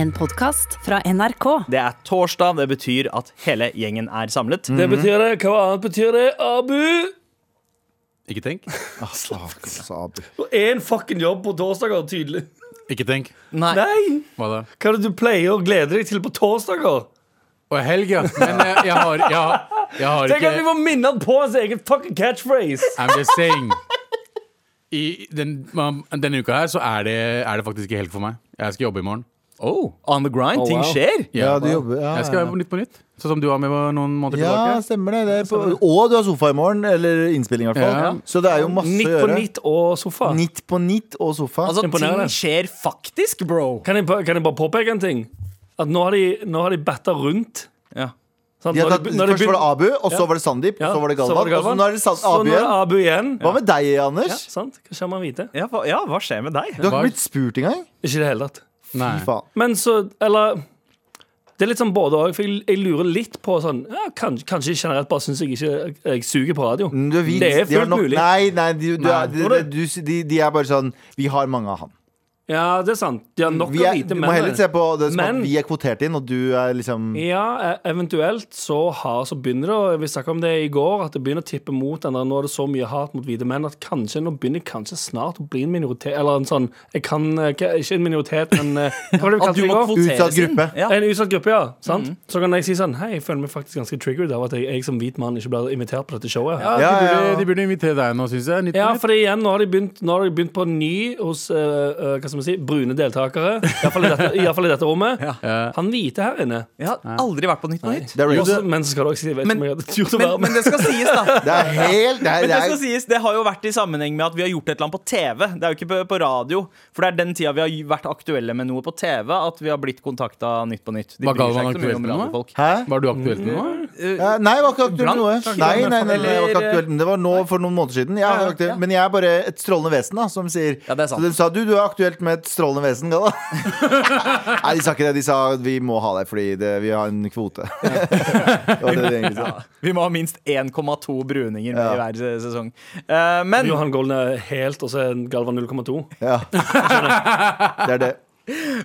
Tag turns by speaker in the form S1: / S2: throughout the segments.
S1: En podkast fra NRK.
S2: Det er torsdag, det betyr at hele gjengen er samlet.
S3: Det
S4: Mhm.
S3: betyr det. Hva annet betyr det? Abu!
S5: Ikke tenk.
S4: Sabu.
S3: Og én fucking jobb på torsdager, tydelig.
S5: Ikke tenk.
S2: Nei.
S3: Nei!
S5: Hva da?
S3: Hva er det du pleier å glede deg til på torsdager?
S5: Og helg, ja. Men eh, jeg har, jeg har, jeg har
S3: Tenk at vi
S5: ikke
S3: må minne han på hans egen fucking catchphrase!
S5: I'm just saying. I den, man- denne uka her så er det, er det faktisk ikke helg for meg. Jeg skal jobbe i morgen.
S2: Oh, on the grind.
S4: Oh,
S2: Ting
S4: wow.
S2: skjer.
S4: Ja, du jobber ja,
S5: Jeg skal være på Nytt på Nytt, sånn som du var med noen måneder
S4: ja,
S5: tilbake.
S4: stemmer det. det er på, og du har sofa i morgen, eller innspilling i hvert fall.
S5: Ja.
S4: Så det er jo masse
S3: Nytt
S4: å
S3: på
S4: gjøre.
S3: nytt og sofa.
S4: Nytt på nytt og sofa.
S2: Altså,
S3: Imponerende.
S2: ting skjer faktisk, bro.
S3: Kan jeg, ba- kan jeg bare påpeke en ting? At nå har de, nå har de batta rundt.
S2: Ja.
S3: Sant?
S4: de har
S3: Nå har
S4: tatt,
S3: de- nå har de
S4: først var det
S3: begynt-
S4: Abu, og så var det Sandeep,
S3: Ja,
S4: og så var det Galvan. Og så nå er det San-
S3: Så nå er
S4: Abu
S3: det
S4: igjen.
S3: Abu igjen.
S4: Hva med deg, Anders?
S3: Ja, sant? Hva skal man vite?
S2: Ja, hva, ja, hva skjer med deg?
S4: Du har
S5: Hva-
S4: ikke blitt spurt engang?
S3: Ikke i det hele tatt.
S5: Nei.
S4: Fy faen.
S3: Men så, eller Det er litt sånn både òg, for jeg, jeg lurer litt på sånn ja, kan, Kanskje jeg generelt bare syns jeg ikke jeg suger på radio.
S4: Mm, Du er hvit.
S3: Det er
S4: De har
S3: fullt
S4: nok-
S3: mulig.
S4: Nei, nei, de, du,
S3: Nei.
S4: er- de, de, de, de er bare sånn Vi har mange av han.
S3: Ja, det er sant. De har nok
S4: Vi
S3: å
S4: er,
S3: vite,
S4: du må
S3: men eh,
S4: heller se på det som at
S3: Men-
S4: vi er kvotert inn, og du er liksom
S3: Ja, e- eventuelt så har Så begynner det, og vi snakket om det i går, at det begynner å tippe mot den der nå er det så mye hat mot hvite menn at kanskje nå begynner jeg kanskje snart å bli en minoritet Eller en sånn jeg kan, eh, ikke ikke en minoritet, men eh, hva var det vi
S2: At
S3: kalte
S2: du
S3: det i
S2: må
S3: går?
S2: kvoteres
S4: Utsatt
S2: inn.
S4: gruppe.
S2: Ja.
S3: En utsatt gruppe, ja. sant? Så kan jeg si sånn Hei, jeg føler meg faktisk ganske triggered av at jeg, jeg som hvit mann ikke blir invitert på dette showet.
S5: Ja,
S4: Ja,
S5: de,
S4: ja,
S5: burde,
S4: ja.
S5: de burde invitere deg nå, syns jeg. Nytt på
S3: Ja,
S5: Nytt.
S3: for igjen, nå har de begynt, nå har de begynt på ny hos eh, eh, hva skal man si, brune deltakere. Iallfall i, dette- i, hvert fall i dette rommet.
S5: Ja.
S3: Han hvite her inne.
S2: Jeg har aldri vært på Nytt på Nytt.
S4: Det er,
S3: Også,
S4: racist.
S3: men så skal du også si jeg vet ikke
S2: Men-
S3: om jeg hadde turt å
S2: Men,
S3: være
S2: men
S3: med.
S2: det skal sies, da.
S4: det er helt Det er,
S2: Men
S4: det
S2: det skal
S4: er,
S2: sies, det har jo vært i sammenheng med at vi har gjort et eller annet på TV. Det er jo ikke på, på radio. For det er den tida vi har vært aktuelle med noe på TV, at vi har blitt kontakta Nytt på Nytt. De
S5: Var
S2: bryr seg
S5: Galvan
S2: ikke så mye om
S5: aktuelt med noe?
S2: radiofolk.
S4: Hæ?
S5: Var du aktuell til noe?
S4: Ja, Nei, det var ikke aktuelt med noe.
S2: Brann?
S4: Nei, nei, nei, nei, det var ikke
S2: Eller-
S4: aktuelt, men det var nå for noen måneder siden. Jeg var aktuell, men jeg er bare et strålende vesen, da, som sier
S2: Ja, det er sant.
S4: Så de sa du, du er aktuelt med et strålende vesen, Galla. nei, de sa ikke det. De sa vi må ha deg fordi det, vi har en kvote. det var det de egentlig sa.
S2: Vi må ha minst 1,2 bruninger med
S4: Ja.
S2: i hver se- sesong. Eh, men
S3: Johan Golden er helt, og så er Galvan 0,2.
S4: Ja. Det er det.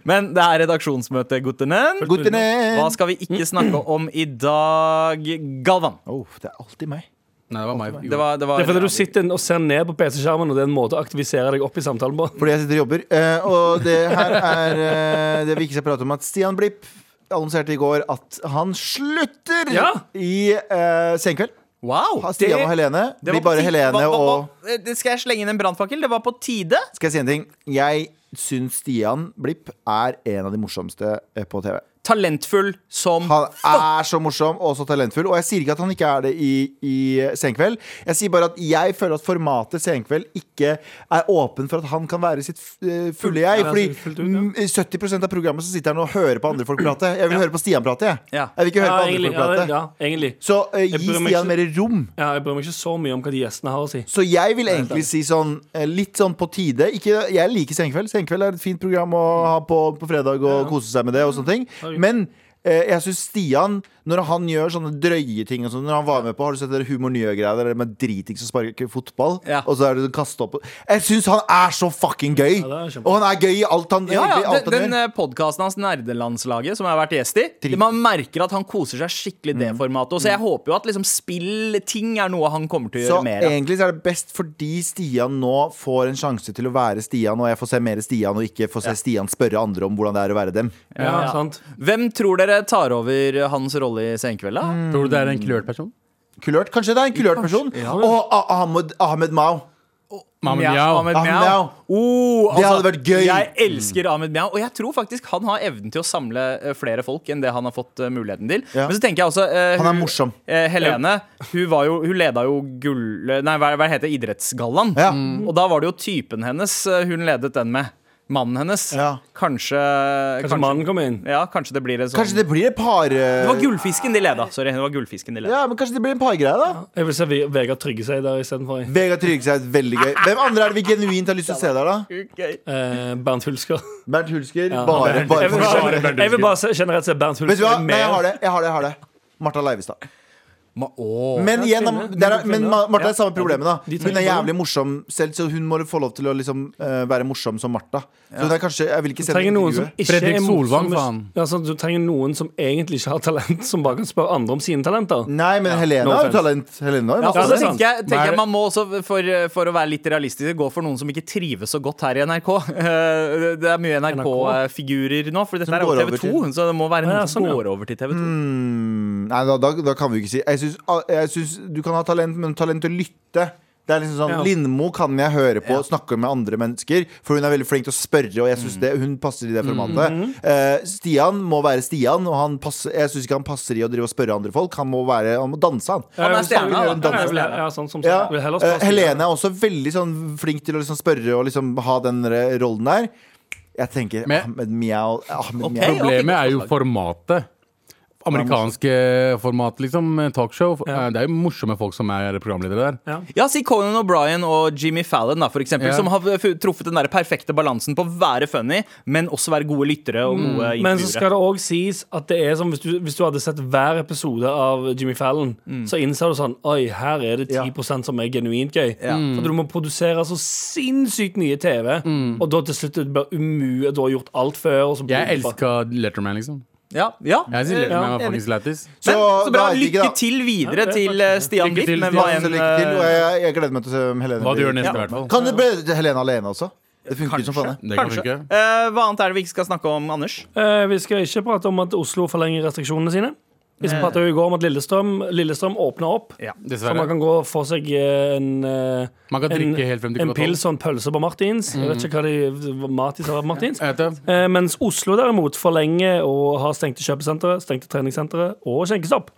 S2: Men det er redaksjonsmøte, guttenen.
S4: Guttene!
S2: Hva skal vi ikke snakke
S4: mm.
S2: om i dag, Galvan?
S4: Oh, det er alltid meg.
S5: Nei, det var meg.
S2: Det var, det var
S3: Det er fordi du sitter og ser ned på PC-skjermen, og det er en måte å aktivisere deg opp i samtalen på.
S4: Fordi jeg sitter og jobber. Eh, og det her er eh, det vi ikke skal prate om, at Stian Blipp annonserte i går at han slutter
S3: Ja.
S4: i eh, Senkveld.
S2: Wow!
S4: Ha Stian
S2: Det-
S4: og Helene.
S2: det
S4: Det
S2: var
S4: blir bare
S2: på ti-
S4: Helene
S2: hva- hva-
S4: og
S2: hva- det Skal jeg slenge inn en brannfakkel? Det var på tide.
S4: Skal jeg si en ting? Jeg syns Stian Blipp er en av de morsomste eh, på TV.
S2: Talentfull som
S4: Han er så morsom og så talentfull. Og jeg sier ikke at han ikke er det i, i Senkveld. Jeg sier bare at jeg føler at formatet Senkveld ikke er åpen for at han kan være sitt eh, fulle jeg.
S3: Ja,
S4: Fordi
S3: altså, fullt ut, ja.
S4: mm, 70 av programmet så sitter han og hører på andre folk prate. Jeg vil høre på Stian prate, jeg.
S2: Ja.
S4: Jeg vil ikke høre på andre
S3: egentlig,
S4: folk
S3: ja, det-
S4: prate.
S3: ja, egentlig.
S4: Så eh,
S3: Jeg
S4: gi
S3: bryr meg
S4: Stian
S3: ikke-
S4: mer rom.
S3: Ja, jeg bryr meg ikke så mye om hva de gjestene har å si.
S4: Så jeg vil egentlig si sånn eh, litt sånn på tide. Ikke, jeg liker Senkveld. Senkveld er et fint program å ha på, på fredag og kose seg med det og
S2: Mm.
S4: sånne ting. Men eh, jeg syns Stian, når han gjør sånne drøye ting og sånn, Når han var med på Har du sett det Humor Nye-greia der med driting som sparker fotball?
S2: Ja.
S4: Og så er det sånn kaste opp Jeg syns han er så fucking gøy!
S3: Ja, det er kjempe-
S4: og han er gøy i alt han,
S2: Ja,
S4: egentlig
S2: ja,
S4: alt
S2: Den,
S4: han
S2: den
S4: gjør.
S2: eh, podcasten hans, Nerdelandslaget, som jeg har vært gjest i,
S4: Drit.
S2: man merker at han koser seg skikkelig
S3: Mm.
S2: i det formatet. Og Så jeg håper jo at liksom, spill-ting er noe han kommer til å
S4: Så
S2: gjøre eh, mer av.
S4: egentlig så er det best fordi Stian nå får en sjanse til å være Stian, og jeg får se mer Stian, og ikke får se Stian spørre andre om hvordan det er å være dem.
S3: Ja,
S2: Ja.
S3: sant?
S2: Hvem tror dere tar over hans rolle i Senkveld,
S4: Mm.
S2: da?
S5: Tror du det er en kulørt person?
S4: kulørt. Kanskje det er en kulørt person. Og Ah- Ahmed, Ahmed Mao.
S5: Mahmoud
S2: Mjau,
S5: Mjau.
S2: Ahmed
S4: Ahmed
S2: Mjau.
S4: Mjau.
S2: Oh,
S4: Det hadde vært gøy.
S2: Jeg elsker Ahmed Mjau, og jeg tror faktisk han har evnen til å samle eh, flere folk enn det han har fått eh, muligheten til.
S4: Ja.
S2: Men så tenker jeg også eh,
S4: Han er
S2: hun-
S4: morsom.
S2: eh, Helene hun, var jo, hun leda jo gull... eh, Nei, hva, hva heter det? Idrettsgallaen.
S4: Ja.
S2: Og da var det jo typen hennes eh, hun ledet den med. Mannen hennes.
S4: Ja.
S2: Kanskje,
S3: Kanskje mannen kommer inn.
S2: Ja, kanskje det blir en sånn
S4: Kanskje det blir et par eh,
S2: Det var gullfisken de leda. Sorry. det var gullfisken de leda
S4: Ja, men kanskje det blir en pargreie, da.
S3: Jeg vil se Ve- Vegard Trygge seg der istedenfor.
S4: Vegard Tryggeseid, veldig gøy. Hvem andre er det vi genuint har lyst til å se der, da?
S2: Ok.
S3: Eh, Bernt Hulsker.
S4: Bernt Hulsker. Bare, bare
S3: Jeg vil
S4: for
S3: bare, jeg vil bare se, generelt se Bernt Hulsker
S4: Vet du hva? Nei, jeg
S3: mer.
S4: har det. Jeg har det, jeg har det. Martha Leivestad.
S5: Ma, åh.
S4: Men,
S3: Ja,
S4: igjen,
S3: kvinne.
S4: der er, men Ma- Martha
S3: Ja.
S4: er samme problemet, da.
S3: De
S4: Hun
S3: trenger
S4: er jævlig
S3: noen.
S4: morsom selv, så hun må få lov til å liksom, eh, være morsom som Martha. Så hun er kanskje, jeg vil ikke
S3: Du
S4: sende
S3: trenger noen som
S4: intervjuet.
S3: ikke
S5: Fredrik
S3: er
S5: Solvang,
S3: morsomme-
S5: faen.
S3: Ja, sånn, du trenger noen som egentlig ikke har talent, som bare kan spørre andre om sine talenter.
S4: Nei, men Helene
S3: No
S4: har jo
S3: offense.
S4: talent. Helene har jo
S2: Ja,
S4: masse
S2: og så
S3: det er sant.
S2: tenker jeg, tenker
S5: Men-
S2: jeg man må også, for, for å være litt realistisk, gå for noen som ikke trives så godt her i NRK. Eh, Det er mye NRK-figurer nå, for dette
S4: Som
S2: er jo
S4: går over
S2: TV 2, så det må være noen
S3: Ja,
S2: som
S3: sånn, ja.
S2: går over til TV 2.
S4: Mm, Nei, da, da, da kan vi jo ikke si Jeg syns- Jeg syns du kan ha talent, men talent til å lytte det er liksom sånn,
S3: Ja.
S4: Lindmo kan jeg høre på snakke med andre mennesker, for hun er veldig flink til å spørre. Og jeg
S3: Mm.
S4: synes det, hun passer i det formatet
S3: Mm-hmm.
S4: Eh, Stian må være Stian, og han passer, jeg syns ikke han passer i å drive og spørre andre folk. Han må, være, han må danse, han.
S2: Han er stjerna, da.
S3: Ja, jeg vil- Ja, sånn som
S4: Ja.
S3: sagt. Vil heller
S4: eh,
S3: spørre-
S4: Helene er også veldig sånn flink til å liksom spørre og liksom ha den re- rollen der. Jeg tenker
S5: Men-
S4: Ahmed Miao Ahmed
S2: Ok.
S4: Miao.
S5: Problemet er jo formatet. Amerikanske format, liksom. Talkshow.
S3: Ja.
S5: Eh, Det er jo morsomme folk som er programledere der.
S3: Ja.
S2: Ja, si Conan O'Brien og Jimmy Fallon, da, for eksempel,
S5: Ja.
S2: som har fu- truffet den der perfekte balansen på å være funny, men også være gode lyttere og gode
S3: Men så
S2: intervjuere.
S3: skal det òg sies at det er som hvis du, hvis du hadde sett hver episode av Jimmy Fallon,
S5: Mm.
S3: så innser du sånn Oi, her er det 10 som er genuint gøy. For du må produsere så sinnssykt mye TV, og da til slutt er det bare umulig. Du har gjort alt før. Og så blir
S5: Mm. Jeg
S3: det bare-
S5: elska Letterman, liksom.
S2: Ja, ja.
S5: Jeg synes Letterman
S3: Ja,
S5: var faktisk lættis.
S2: Men, så,
S4: da
S2: bra.
S4: er det ikke,
S2: Lykke
S4: da.
S2: til videre
S3: Ja,
S2: til
S3: takk.
S2: eh, Stian
S5: Lykke
S2: Blipp.
S5: til,
S2: Men hva
S5: Stian,
S4: Ja,
S2: enn
S4: så lykke til. Og
S2: eh,
S4: jeg, jeg gleder meg til å se om Helene
S5: Hva du gjør
S4: blir-
S5: neste, i
S2: Ja.
S5: hvert fall.
S4: Kan det bli Helene alene også? Det funker som faen. det.
S5: Det kan
S2: Kanskje.
S5: funke.
S2: eh, Hva annet er det vi ikke skal snakke om, Anders?
S3: Eh, vi skal ikke prate om at Oslo forlenger restriksjonene sine. Vi
S5: Eh.
S3: prata jo i går om at Lillestrøm, Lillestrøm åpna opp. Så man
S5: Dessverre.
S3: kan gå og få seg eh, en, eh,
S5: Man kan
S3: en,
S5: drikke helt frem til
S3: en
S5: klokka tolv. Mm.
S3: pils og en pølse på Martins. Jeg vet ikke hva de Martins har på Martins.
S5: Jeg vet det.
S3: Eh, mens Oslo derimot forlenger og har stengte kjøpesentre, stengte treningssentre og skjenkestopp.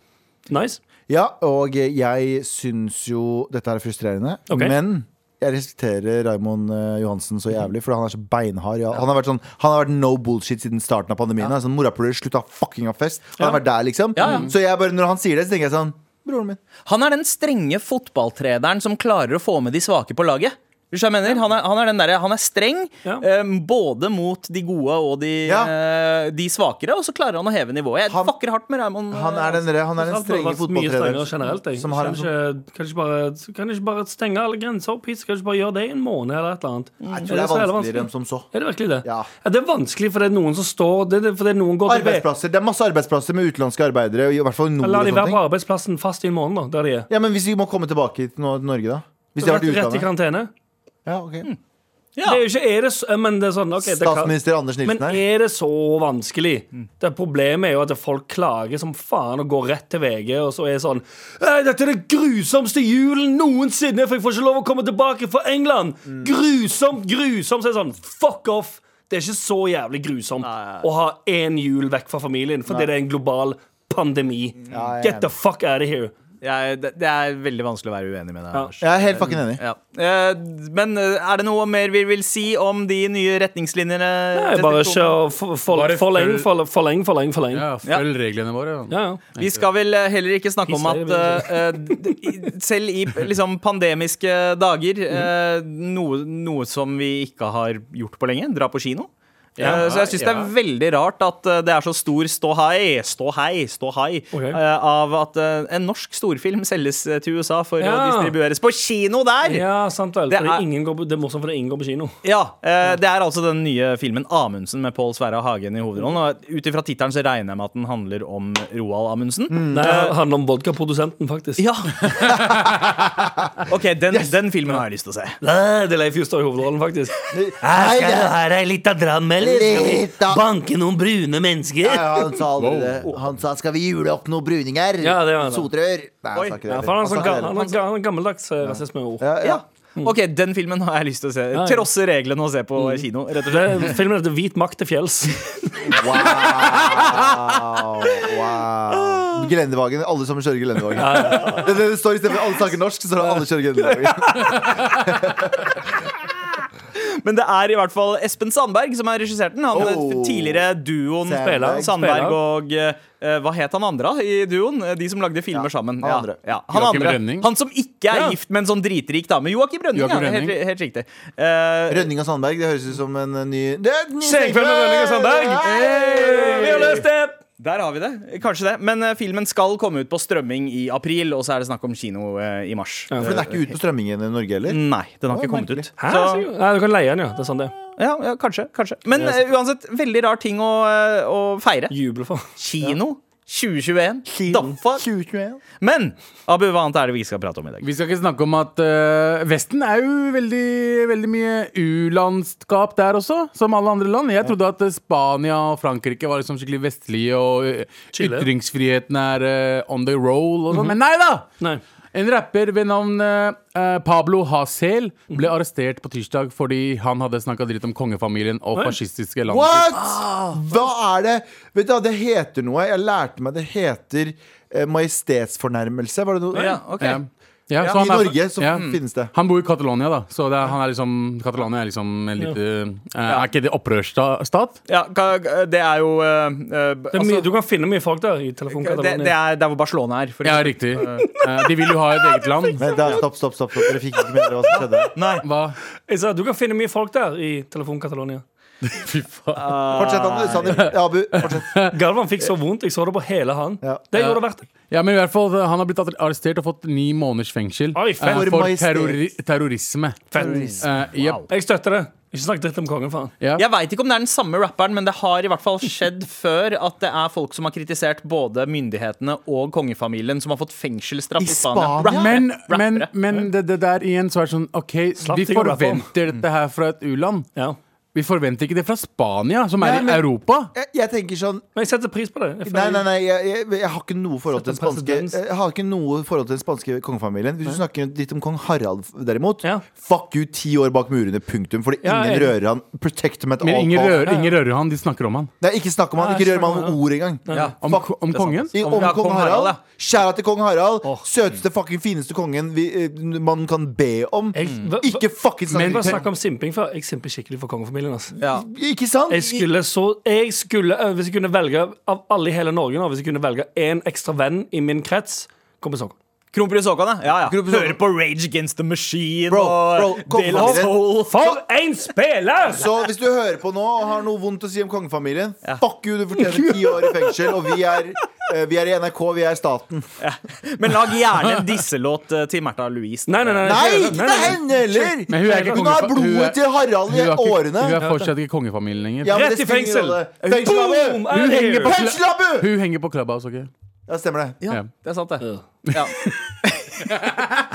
S3: Nice.
S4: Ja, og jeg syns jo dette er frustrerende,
S3: Ok.
S4: men jeg respekterer Raymond eh, Johansen så jævlig, for han er så beinhard. Ja. Han, har vært sånn, han har vært no bullshit siden starten av pandemien. Ja. Sånn, Morapuler slutta fucking av fest. Han har vært der, liksom.
S2: Ja, ja.
S4: Så jeg bare, når han sier det, så tenker jeg sånn Broren min.
S2: Han er den strenge fotballtrederen som klarer å få med de svake på laget. Hvis jeg mener, han, er, han, er den derre- han er streng
S3: Ja.
S2: eh, både mot de gode og de,
S4: Ja.
S2: eh, de svakere, og så klarer han å heve nivået. Jeg
S4: Han-
S2: fucker hardt med Raymond. eh,
S4: Han er den, han er den
S3: Alt har vært
S4: strenge
S3: mye strengere generelt.
S4: fotballtreneren.
S3: Jeg.
S4: Som har en sånn-
S3: kan, ikke, kan, ikke bare, kan ikke bare stenge alle grenser opp hit? Kan ikke bare gjøre det i en måned eller et eller annet?
S4: Jeg
S3: Er
S4: tror det er
S3: så jævla
S4: vanskeligere enn som så.
S3: Er det virkelig det?
S4: Ja.
S3: det er vanskelig fordi det er noen som står det, det, Fordi noen går til
S4: Arbeidsplasser, Det er masse arbeidsplasser med utenlandske arbeidere. I hvert fall i nord
S3: La
S4: og
S3: de
S4: sånne
S3: være på
S4: ting.
S3: arbeidsplassen fast i en måned, da, der de er.
S4: Ja, men Hvis vi må komme tilbake hit nå, til Norge, da? Hvis de har
S3: Rett,
S4: vært i
S3: rett i
S4: utlandet?
S3: karantene.
S4: Ja, ok.
S2: Ja.
S3: Det er jo ikke er det, så- Men det er sånn ok, det kan,
S4: Statsminister Anders
S3: Men
S4: Nilsen her.
S3: er det så vanskelig? Det Problemet er jo at folk klager som faen og går rett til VG og så er det sånn «Ei, Dette er den grusomste julen noensinne, for jeg får ikke lov å komme tilbake fra England! Grusomt, grusomt! Så er det sånn, fuck off! Det er ikke så jævlig grusomt å ha én jul vekk fra familien fordi det er en global pandemi.
S4: Ja, jeg er
S3: Get the fuck out of here.
S2: Jeg, det, det er veldig vanskelig å være uenig med deg, Anders.
S4: Jeg er helt fucking enig.
S2: Ja. Eh, men eh, er det noe mer vi vil si om de nye retningslinjene?
S3: Nei, bare kjør. for- for-
S5: Bare
S3: Forleng,
S5: følg-
S3: forleng, forleng, forleng. forleng.
S5: Ja,
S3: Ja,
S5: følg reglene våre. da.
S3: ja.
S2: Vi skal vel eh, heller ikke snakke om at
S3: Piss deg,
S2: eh, eh, d- i- selv i liksom, pandemiske dager eh, noe, noe som vi ikke har gjort på lenge, dra på kino. Eh,
S5: Ja,
S2: så jeg syns det
S5: ja.
S2: er veldig rart at eh, det er så stor ståhei, ståhei, ståhei
S3: Ok.
S2: eh, av at eh, en norsk storfilm selges eh, til USA for å
S3: Ja.
S2: distribueres på kino der! Ja,
S3: ja sant vel.
S2: Det
S3: Fordi
S2: er-
S3: ingen går på, det er morsomt fordi ingen går på kino.
S2: eh, Det er altså den nye filmen Amundsen med Pål Sverre Hagen i hovedrollen. Og ut ifra tittelen så regner jeg med at den handler om Roald Amundsen.
S3: Nei, det handler om vodkaprodusenten, faktisk.
S2: Mm. Ja! OK, den, den filmen har jeg lyst til å se.
S3: Nei, det er Leif Justad i hovedrollen, faktisk.
S4: Nei, det er-
S3: ha deg litt av dram,
S4: Litt av-
S3: banke noen brune mennesker?
S4: Nei, han sa aldri det. Han sa 'skal vi jule opp noen bruninger'?
S3: Ja, det var det.
S4: Sotrør. Nei, han
S2: Oi.
S4: sa ikke det.
S3: Ja, for han er
S4: sa
S3: sånn
S4: ikke det
S3: ga- han er ga- han er gammeldags eh, rasismeord.
S4: Ja, ja.
S2: Altså, Ja. Mm. OK, den filmen har jeg lyst til å se.
S3: ja.
S2: Trosse reglene og se på kino, rett og slett.
S3: Det- Filmen heter Hvit makt til fjells.
S4: Wow. wow. Gelendevagen. Alle som kjører gelendevagen. Det, det, det står i stedet for alle snakker norsk, så står det alle kjører gelendevagen.
S2: Men det er i hvert fall Espen Sandberg som har regissert den. Han er
S4: Oh.
S2: tidligere duoen
S4: Sandberg.
S2: Sandberg og eh, Hva het han andre i duoen? Eh, De som lagde filmer sammen.
S4: han
S2: Ja,
S4: andre.
S2: Ja, han,
S5: Joakim
S2: andre.
S5: Rønning.
S2: han som ikke er
S3: Ja.
S2: gift, men sånn dritrik dame. Joakim Rønning,
S5: Joakim
S2: ja. Helt,
S5: Rønning.
S2: helt riktig. Eh,
S4: Rønning og Sandberg, det høres ut som en eh, ny Det er en ny
S3: Senkveld med Rønning og Sandberg!
S4: Hey!
S3: Vi har løst det!
S2: Der har vi det. Kanskje det. Men eh, filmen skal komme ut på strømming i april, og så er det snakk om kino eh, i mars.
S3: Ja.
S4: For den er ikke ute på strømmingen i Norge heller.
S2: Nei, den har
S4: Å,
S2: ikke kommet
S4: merkelig.
S2: ut.
S3: Hæ?
S2: Så-
S3: Så- Nei, du kan leie den, ja. Det er sånn det er.
S2: ja, ja, kanskje, kanskje. Men eh, uansett, veldig rar ting å, eh, å feire.
S3: Juble for.
S2: Kino 2021.
S4: Kino.
S2: Da fuck.
S4: 2021.
S2: Men Abu, hva annet er det vi skal prate om i dag?
S5: Vi skal ikke snakke om at øh, Vesten er jo veldig, veldig mye u-landskap der også, som alle andre land. Jeg trodde at øh, Spania og Frankrike var liksom skikkelig vestlige, og øh,
S3: Chile.
S5: ytringsfriheten er øh, on the roll og sånn. Men nei da!
S3: Nei.
S5: En rapper ved navn eh, Pablo Hasel ble arrestert på tirsdag fordi han hadde snakka dritt om kongefamilien og
S3: Oi.
S5: fascistiske land.
S4: What?! Hva er det? Vet du hva, det heter noe. Jeg lærte meg det heter eh, majestetsfornærmelse. Var det noe?
S2: Ja, ok
S5: Ja. Ja, så
S4: I
S5: han er-
S4: Norge så
S5: ja.
S4: finnes det.
S5: Han bor i Catalonia, da. Så det er, han er liksom, Catalonia er liksom en lite eh, Er ikke det opprørsstat?
S2: Ja, ka- det er jo eh, eh,
S3: Det er mye,
S2: altså,
S3: du kan finne mye folk der i
S2: det, det
S3: telefonkatalogen.
S2: er der hvor Barcelona er. For
S5: Ja,
S2: eksempel.
S5: riktig. Eh, de vil jo ha et eget land.
S4: Men da, stopp, stopp, stopp. stopp. Dere fikk ikke med dere hva som skjedde.
S2: Nei.
S5: Hva?
S3: Jeg sa, du kan finne mye folk der i telefonkatalogen.
S5: Fy faen.
S4: Fortsett, Anders. Sandeep. Ja, Abu, fortsett.
S3: Galvan fikk så vondt. Jeg så det på hele han.
S4: Ja.
S3: Det gjorde det verdt det.
S5: Ja, men i hvert fall, eh, han har blitt arrestert og fått ni måneders fengsel
S3: Oi,
S5: eh,
S3: fett.
S4: For
S5: for
S4: majestet.
S5: terrori terrorisme.
S3: Fett.
S5: Eh, jep.
S3: Jeg støtter det. Ikke snakk dritt om kongen, faen.
S5: Ja.
S2: Jeg veit ikke om det er den samme rapperen, men det har i hvert fall skjedd før at det er folk som har kritisert både myndighetene og kongefamilien, som har fått fengselsstraff
S4: I
S2: i Spania.
S4: Spania?
S2: Rappere.
S5: Men, men,
S2: Rappere.
S5: men det, det der igjen så er det sånn OK,
S3: Slapp
S5: vi
S3: ting å rappe om.
S5: forventer dette her fra et u-land.
S3: Ja.
S5: Vi forventer ikke det fra Spania, som er
S4: Nei, men-
S5: i Europa.
S4: Jeg, jeg tenker sånn
S3: Men jeg setter pris på det. Jeg
S4: Nei,
S3: føler-
S4: nei, nei, jeg, jeg, jeg har ikke noe forhold til den
S3: Sett en
S4: spanske
S3: presedens.
S4: Jeg har ikke noe forhold til den spanske kongefamilien. Hvis du snakker litt om kong Harald, derimot,
S3: Ja.
S4: fuck you, ti år bak murene, punktum. Fordi
S3: Ja,
S4: ingen
S3: jeg-
S4: rører han. Protect him at
S5: Men
S4: all
S5: ingen
S4: cost.
S5: rører, ingen rører han, de snakker om han.
S4: Nei, ikke snakk om han.
S3: Nei,
S4: Ikke rør
S3: snakk om
S4: meg med
S3: han,
S4: ord engang.
S5: Om,
S4: Fuck.
S5: ko- om kongen.
S4: I- Om
S2: Ja,
S4: kong Harald,
S2: ja.
S4: ja. Kjære til kong Harald.
S3: Åh.
S4: Søteste, fucking fineste kongen vi, eh, man kan be om.
S3: Jeg, hva- hva-
S4: Ikke fucking
S3: Men bare
S4: snakk
S3: snakk om simping før. Jeg simper skikkelig for kongefamilien. Altså.
S2: Ja.
S4: Ikke sant?
S3: Jeg skulle så Jeg skulle, øh, hvis jeg kunne velge av alle i hele Norge nå, hvis jeg kunne velge én ekstra venn i min krets, kom på sånn.
S2: Kronprins Haakon, ja. ja, ja.
S4: Kronprins Haakon.
S2: Hører på Rage Against The Machine
S4: Bro,
S2: og
S4: bro,
S2: Dale of
S4: kongefamilien.
S2: Soul.
S3: For en spiller!
S4: Så hvis du hører på nå og har noe vondt å si om kongefamilien, fuck you, du fortjener ti år i fengsel, og vi er, eh, vi er i NRK, vi er staten.
S2: Men lag gjerne en disselåt eh, til Märtha Louise.
S3: Nei, nei, nei.
S4: Nei, ikke til henne heller!
S5: Men hun er ikke
S4: Hun
S5: kongefa-
S4: har
S5: hun
S4: blodet
S5: er-
S4: til Harald
S5: Hun
S4: i
S5: er, ikke,
S4: årene.
S5: hun er fortsatt ikke kongefamilien lenger.
S4: Ja, men
S3: Rett
S4: det
S3: i
S4: spiller ingen
S3: fengsel!
S4: rolle.
S3: Boom! I'm
S4: Fengsel, Abu!
S5: Hun henger
S3: here!
S5: på-
S4: Fengsel, Abu!
S5: Hun henger på Clubhouse, OK?
S4: Ja, stemmer det.
S2: Ja,
S5: Ja.
S2: det er sant, det. Ja.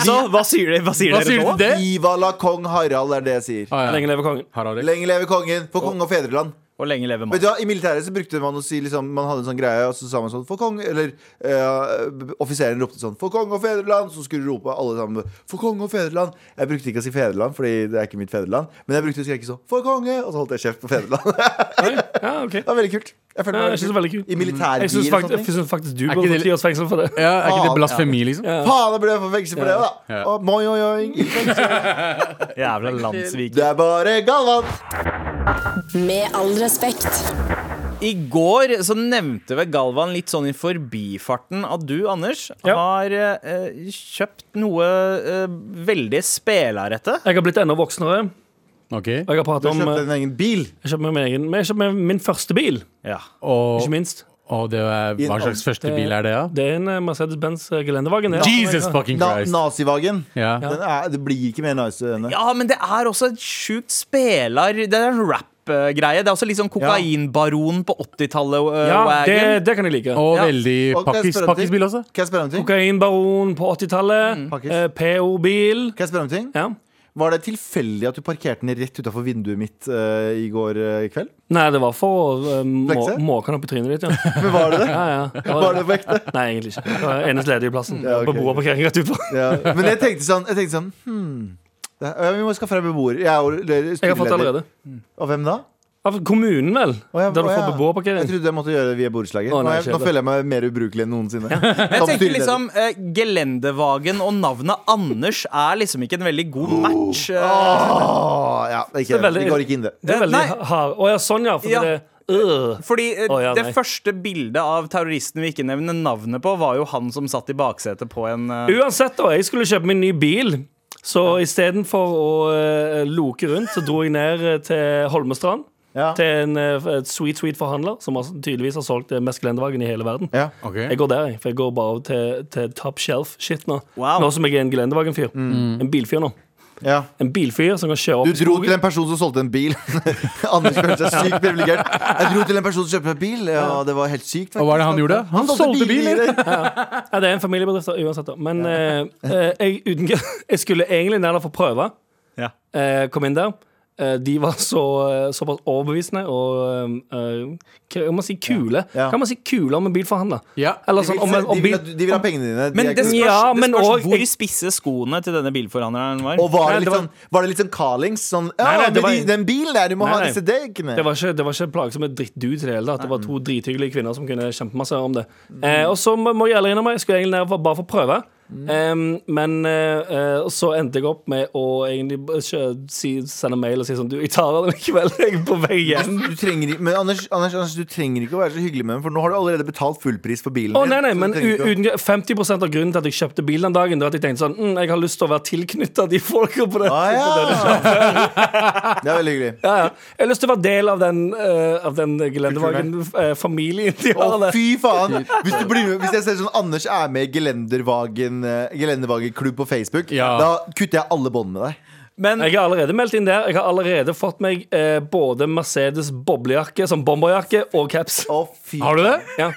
S2: Så hva sier dere, hva sier
S5: Hva
S2: dere
S5: sier
S2: nå?
S5: du til det?
S4: Viva la kong Harald, er det jeg sier.
S5: Ah,
S3: Lenge
S5: ja.
S3: leve kongen.
S5: Harald.
S4: Lenge leve kongen, for konge og fedreland.
S2: Og lenge leve
S4: Vet
S2: mannen.
S4: du hva, I militæret så brukte man å si liksom, Man hadde en sånn greie, og så sa man sånn For kong, eller eh, b- Offiseren ropte sånn For kong og fedreland, så skulle rope alle sammen For kong og fedreland Jeg brukte ikke å si fedreland, fordi det er ikke mitt fedreland Men jeg brukte å skrike sånn For konge, og så holdt jeg kjeft på fedreland Det
S3: Ja, ok
S4: var veldig kult Jeg
S3: Ja,
S4: følte meg
S3: jeg synes det er veldig kult.
S4: I militærbil
S3: Jeg syns faktisk,
S4: og sånne ting
S3: jeg synes faktisk du
S5: Er
S3: burde
S5: ikke
S3: få
S5: det-
S3: ti års fengsel for det.
S5: Ja, er ikke
S4: Faen,
S5: det blasfemi, liksom?
S4: Faen, da ble jeg for fengsel for det da
S5: Ja.
S4: Og moi, oi, oi,
S3: Mm.
S2: Jævla landssvik.
S4: Det er bare galvan
S6: Med all respekt.
S2: I går så nevnte vel Galvan litt sånn i forbifarten at du, Anders,
S3: Ja.
S2: har eh, kjøpt noe eh, veldig spelarete.
S3: Jeg har blitt enda voksnere. og
S5: OK?
S3: Jeg har
S4: Du
S3: pratet om
S4: kjøpte
S3: eh,
S4: en egen bil
S3: Jeg kjøpte meg min egen Men jeg kjøpte meg min første bil,
S2: Ja.
S5: Og,
S3: ikke minst.
S5: og det er, hva slags første bil er det, da?
S3: Det er en eh, Mercedes-Benz eh, Gelendewagen. det.
S5: Jesus fucking
S4: Na
S5: Christ!
S4: Nazivagen
S5: Ja.
S4: Den er, Det blir ikke mer nice enn det
S2: ja, men det er også et sjukt spelar... Det er en rap-greie. Det er også litt sånn kokainbaron på 80-tallet. eh,
S3: Ja, det,
S2: wagon.
S3: det kan jeg like.
S5: Og
S2: Ja.
S5: veldig
S4: Og kan jeg
S5: pakkis,
S4: spørre om ting?
S5: pakkisbil også.
S4: Kan jeg spørre om ting?
S3: Kokainbaron på 80-tallet.
S4: Pakkis.
S3: Eh, PO-bil.
S4: Kan jeg spørre om ting?
S3: Ja.
S4: Var det tilfeldig at du parkerte den rett utafor vinduet mitt eh, i går eh, kveld?
S3: Nei, det var for å eh, må,
S4: Flekse?
S3: måke den opp i trynet ditt, ja.
S4: Men var det det?
S3: ja, ja.
S4: Var det på ekte?
S3: Nei, egentlig ikke. Det var eneste ledige plassen.
S4: Ja, ok.
S3: Beboerparkering rett utfor.
S4: Ja. Men jeg tenkte sånn, jeg tenkte sånn hmm, det, ja, Vi må skaffe deg beboer. Jeg, er jo le-
S3: Jeg har fått
S4: styreleder.
S3: allerede.
S4: Og hvem da?
S3: Av kommunen, vel?
S4: Å, ja,
S3: der du
S4: å,
S3: får
S4: ja. Jeg
S3: beboerparkering.
S4: trodde jeg måtte gjøre det via borettslaget.
S3: Å,
S4: Nå,
S3: nei,
S4: er jeg- nå
S3: kjedelig.
S4: føler jeg meg mer ubrukelig enn noensinne. Som
S2: Jeg tenker
S4: styreleder.
S2: liksom eh, Gelendevagen og navnet Anders er liksom ikke en veldig god match. eh.
S3: Ah.
S4: Åh, ja, det, er ikke,
S3: Det er veldig-
S4: vi går ikke inn det.
S3: Det er veldig
S2: Nei.
S3: hard. Å ja, sånn, ja. For
S2: Ja.
S3: det øh.
S2: Fordi eh,
S3: Å, ja,
S2: det
S3: nei.
S2: første bildet av terroristen vi ikke nevner navnet på, var jo han som satt i baksetet på en eh,
S3: Uansett, da. Jeg skulle kjøpe meg en ny bil. Så istedenfor å eh, loke rundt, så dro jeg ned eh, til Holmestrand.
S4: Ja.
S3: til en eh, et sweet, sweet forhandler, som har- tydeligvis har solgt eh, mest Gelendewagen i hele verden.
S4: Ja.
S5: Ok.
S3: Jeg går der, jeg, for jeg går bare til, til top shelf-shit nå.
S2: Wow.
S3: Nå som jeg er en Gelendewagen-fyr. En bilfyr nå.
S4: Ja.
S3: En bilfyr som kan kjøre
S4: Mm. Du
S3: opp
S4: dro til en person som solgte en bil. Anders føler seg sykt privilegert. Jeg dro til en person som kjøpte meg bil, ja, det var helt sykt.
S5: Og hva er det han gjorde? Han solgte biler!
S3: Ja, det er en familiebedrift da, uansett, da. Men eh, eh, jeg, uten, jeg skulle egentlig ned der for å prøve.
S2: Ja.
S3: Eh, kom inn der. Eh, de var så, eh, såpass overbevisende og eh, hva man si, kule.
S4: Ja.
S3: Kan man si kule om en bilforhandler?
S5: Ja.
S3: Eller
S4: De
S3: sånn, om,
S4: vil,
S3: en- om
S4: de, vil,
S3: bil,
S4: ha- de vil ha pengene dine. De
S2: Men
S4: er
S2: det
S4: ikke-
S2: spørs,
S3: Ja, men
S2: det spørs
S3: og-
S2: hvor spisse skoene til denne bilforhandleren var.
S4: Og var
S3: Nei,
S4: det
S3: det
S4: litt
S3: var-
S4: sånn, var det litt sånn Carlings? Sånn, ja,
S3: Nei, nei, det
S4: men
S3: var-
S4: de, den bilen der, du må
S3: Nei,
S4: ha
S3: nei.
S4: disse dekkene.
S3: Det var ikke, det var ikke plagsomme drittdudes i det hele tatt. Det var to drithyggelige kvinner som kunne kjempemasse om det.
S4: Mm.
S3: Eh, og så må må jeg ærlig innrømme, jeg skulle egentlig ned for, bare for å prøve.
S4: Mm.
S3: Em, men eh, eh, så endte jeg opp med å egentlig b- kjø- si, sende mail og si sånn Du, jeg tar den likevel. Jeg er på vei hjem.
S4: Altså, Du trenger, ikke- men Anders, Anders, Anders, du trenger ikke å være så hyggelig med dem, for nå har du allerede betalt fullpris for bilen.
S3: Å
S4: din,
S3: nei, nei,
S4: så du
S3: men
S4: trenger ikke å-
S3: u- uten, 50 av grunnen til at jeg kjøpte bil den dagen, Det var at jeg tenkte sånn mm, Jeg har lyst til å være tilknytta de folka på det.
S4: ah, ja. Det er veldig hyggelig.
S3: Ja, ja. Jeg har lyst til å være del av den, eh, av den Gelendewagen-familien de
S4: Å,
S3: har der.
S4: fy faen! Hvis, du blir med, hvis jeg ser sånn Anders er med i Gelendervagen eh, Gelendervagen-klubb på Facebook,
S5: Ja.
S4: da kutter jeg alle bånd med deg.
S2: Men
S3: Jeg har allerede meldt inn der. Jeg har allerede fått meg eh, både Mercedes boblejakke som bomberjakke og caps.
S4: Å, fy
S5: Har du det?
S3: Ja.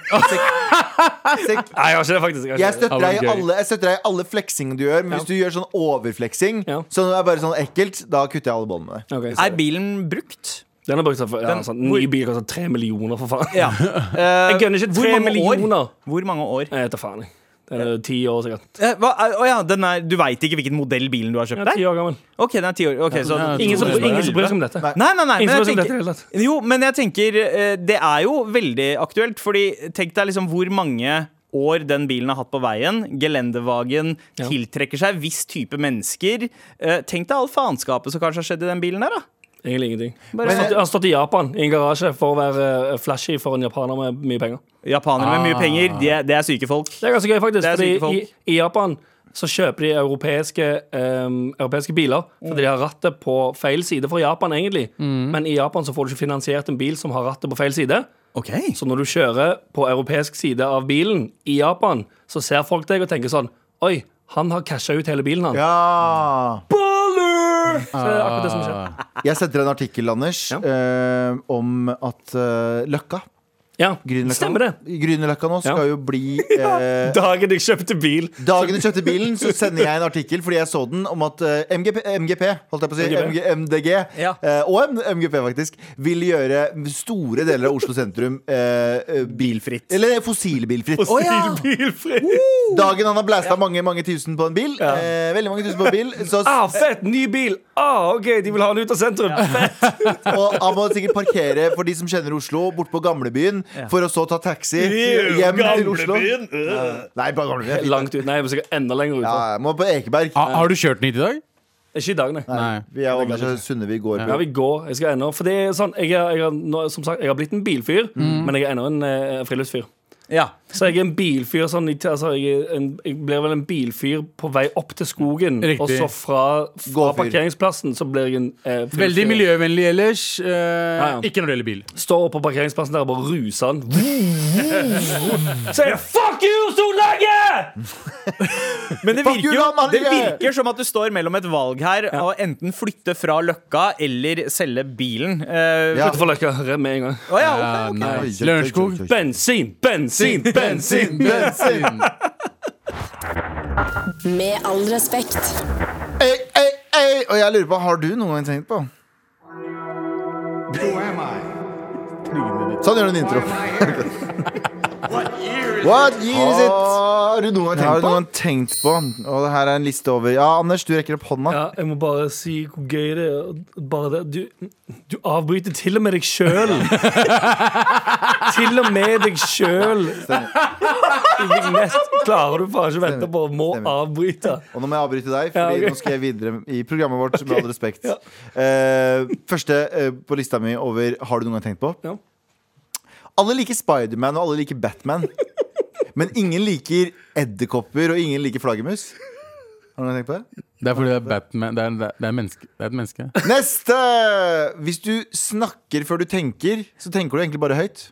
S4: Sekk-
S3: Nei, jeg har ikke det, faktisk. Jeg har ikke
S4: Jeg
S3: det.
S4: støtter,
S5: Ja, men
S4: deg i
S5: gøy.
S4: alle, jeg støtter deg i alle fleksing du gjør, men hvis du gjør sånn overfleksing,
S3: Ja.
S4: så det er bare sånn ekkelt, da kutter jeg alle bånd med deg.
S3: Ok,
S2: er
S3: sorry.
S2: bilen brukt?
S3: den har brukt seg for ja,
S2: Den-
S3: sånn, Ny bil koster tre millioner, for faen.
S2: Ja. Eh,
S3: Jeg gønner ikke
S2: hvor
S3: tre
S2: mange
S3: millioner.
S2: År? Hvor mange år?
S3: Jeg vet da faen. jeg. Det er ti år sikkert.
S2: Eh, hva, eh, å ja, den er, du veit ikke hvilken modell bilen du har kjøpt
S3: Ja, ti
S2: der?
S3: år gammel.
S2: Ok, den er ti år. Ok, så,
S5: Ja,
S3: Ingen som,
S5: Tror du det?
S3: ingen som bryr seg om dette.
S2: Nei, nei, nei. Men jeg
S3: Ingen som bryr seg om dette i
S2: tenker,
S3: det hele tatt.
S2: jo, men jeg tenker eh, det er jo veldig aktuelt. Fordi tenk deg liksom hvor mange år den bilen har hatt på veien. Gelendevagen
S3: Ja.
S2: tiltrekker seg viss type mennesker. Eh, Tenk deg all faenskapet som kanskje har skjedd i den bilen der, da.
S3: Egentlig ingenting.
S2: Bare-
S3: Han stod- han stått i Japan, i en garasje, for å være eh, flashy for en japaner med mye penger.
S2: Japanere med mye
S3: Ah.
S2: penger, de er, det er syke folk.
S3: Det er ganske gøy, faktisk.
S2: Det er syke
S3: Fordi i,
S2: folk.
S3: I Japan så kjøper de europeiske, ehm, europeiske biler fordi de har rattet på feil side for Japan, egentlig.
S2: Mm.
S3: Men i Japan så får du ikke finansiert en bil som har rattet på feil side.
S2: Ok
S3: Så når du kjører på europeisk side av bilen i Japan, så ser folk deg og tenker sånn Oi, han har casha ut hele bilen, han.
S4: Ja.
S3: Så det er akkurat det som skjer.
S4: Jeg setter en artikkel, Anders, eh, om at eh, Løkka
S3: Ja,
S4: Grünerløkka-
S3: stemmer det.
S4: Grünerløkka nå
S3: Ja.
S4: skal jo bli eh,
S3: Dagen jeg kjøpte bil.
S4: Dagen du kjøpte bilen, så sender jeg en artikkel fordi jeg så den om at eh, MGP, MGP holdt jeg på å si, MG, MDG,
S2: Ja.
S4: eh, og M- MGP faktisk, vil gjøre store deler av Oslo sentrum eh, eh, bilfritt. Eller fossilbilfritt.
S2: Å ja.
S3: Bilfri.
S4: Dagen han har blæsta mange mange tusen på en bil, eh, veldig mange tusen på en bil, så,
S3: Ah, fett! Ny bil! Ah, OK, de vil ha den ut av sentrum. Fett!
S4: og han må sikkert parkere for de som kjenner Oslo, bort på gamlebyen, for å så ta taxi hjem til Oslo. Nei, bare gamlebyen.
S3: Langt ut. Nei, men sikkert enda lenger ut.
S4: Ja, jeg må på Ekeberg.
S5: Ha, Ah, har du kjørt den hit i dag?
S3: Ikke i dag, nei.
S5: Nei.
S4: Vi er Anders og Sunnevi går
S3: Ja,
S4: på.
S3: vi går. Jeg skal ennå For det er sånn jeg er, jeg er, nå, Som sagt, jeg har blitt en bilfyr, men jeg er ennå en eh, friluftsfyr.
S2: ja.
S3: Så jeg er en bilfyr sånn i- altså, jeg, er en, jeg blir vel en bilfyr på vei opp til skogen,
S5: Riktig.
S3: og så fra, fra
S4: Gåfyr.
S3: parkeringsplassen så blir jeg en eh, friluftsfyr.
S5: Veldig miljøvennlig ellers. eh,
S3: ja.
S5: Ikke når det gjelder bil.
S3: Står oppe på parkeringsplassen der og bare ruser han. Sier 'fuck you, Solberget!'
S2: Men det
S4: Fuck
S2: virker,
S4: you,
S2: jo,
S4: da, mann!
S2: det virker som at du står mellom et valg her. Å enten flytte fra Løkka eller selge bilen. Eh,
S4: Ja.
S3: Utenfor løkka redd med en gang.
S2: å ja, ok.
S4: Oi,
S5: Nice.
S4: oi, oi,
S5: Lørenskog.
S4: oi, oi.
S3: Bensin, bensin, bensin!
S5: bensin.
S6: Med all respekt.
S4: Ei, ei, ei. Og jeg lurer på, har du noen gang tenkt på Sånn gjør du en intro.
S7: What year is it?
S4: Har du noen gang tenkt
S7: Har du
S4: på?
S7: noen
S4: tenkt på? Og det her er en liste over Ja, Anders, du rekker opp hånda.
S3: Ja, jeg må bare si hvor gøy det er. Bare det. Du, du avbryter til og med deg sjøl. til og med deg sjøl. Klarer du bare ikke å vente på må
S4: Stemmer.
S3: avbryte.
S4: Og nå må jeg avbryte deg,
S3: Ja,
S4: Fordi
S3: ok.
S4: nå skal jeg videre i programmet vårt. Med all respekt Eh, Første eh, på lista mi over Har du noen gang tenkt på?
S3: Ja.
S4: Alle liker Spiderman, og alle liker Batman. Men ingen liker edderkopper, og ingen liker flaggermus. Har du noen gang tenkt på det?
S5: Det er fordi det er Batman Det er, det er, det er, menneske, det er et menneske.
S4: Neste! Hvis du snakker før du tenker, så tenker du egentlig bare høyt.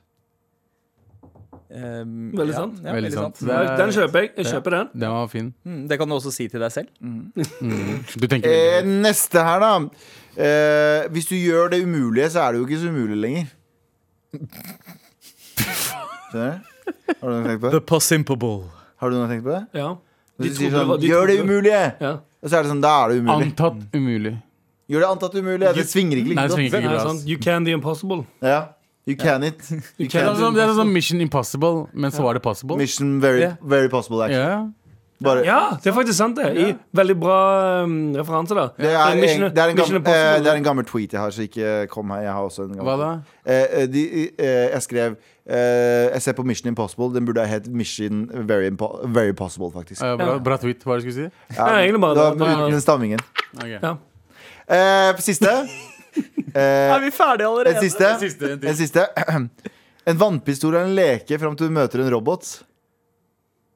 S2: Um,
S3: Veldig sant.
S2: Ja,
S5: Veldig sant.
S2: Ja.
S5: Det er-
S3: Den kjøper jeg. Jeg kjøper den.
S5: Den var fin.
S2: Mm, Det kan du også si til deg selv.
S5: Du tenker
S4: Eh, neste her, da. Eh, hvis du gjør det umulige, så er det jo ikke så umulig lenger. Skjønner du? Har du noe tenkt på det?
S2: possible.
S4: Har du noe tenkt på det?
S3: Ja.
S4: Hvis
S3: De
S4: du sier
S3: trodde det
S4: sånn,
S3: var- de
S4: gjør det
S3: trodde-
S4: umulige!
S3: ja.
S4: Og så er det sånn, da er det umulig.
S5: Antatt umulig.
S4: Gjør det antatt umulig. Det svinger ikke
S5: Nei,
S4: like
S5: det svinger
S4: godt.
S5: ikke
S3: Ja,
S5: bra. ass.
S3: sant. You can the impossible.
S4: Ja. You can it. You
S5: Det
S4: can
S5: er sånn,
S4: it.
S5: det er sånn Mission Impossible, men så var det possible.
S4: Mission very,
S2: Ja.
S4: very possible, actually.
S5: Ja.
S4: Bare,
S3: Ja, det er faktisk sant, det. I veldig bra um, referanse, da.
S4: Det er, en,
S3: Mission-
S4: det, er en
S3: Mission
S4: gammel, eh,
S3: Impossible.
S4: det er en gammel tweet jeg har, så ikke eh, kom her. Jeg har også en gammel
S5: Hva da?
S4: tweet. Eh, eh, de, eh, jeg skrev eh, Jeg ser på Mission Impossible. Den burde ha hett Mission Very, Impo very Possible, faktisk.
S5: Eh, bra, bra tweet. Hva var det du skulle si?
S4: Ja,
S3: Ja, egentlig bare
S4: da
S3: det.
S4: må vi bruke den stammingen.
S5: Ok.
S3: Ja.
S4: Eh, siste.
S2: Er
S4: Eh,
S2: vi ferdige
S4: en
S2: allerede?
S4: siste.
S5: En siste, en til.
S4: En siste. En vannpistol er en leke fram til du møter en robot.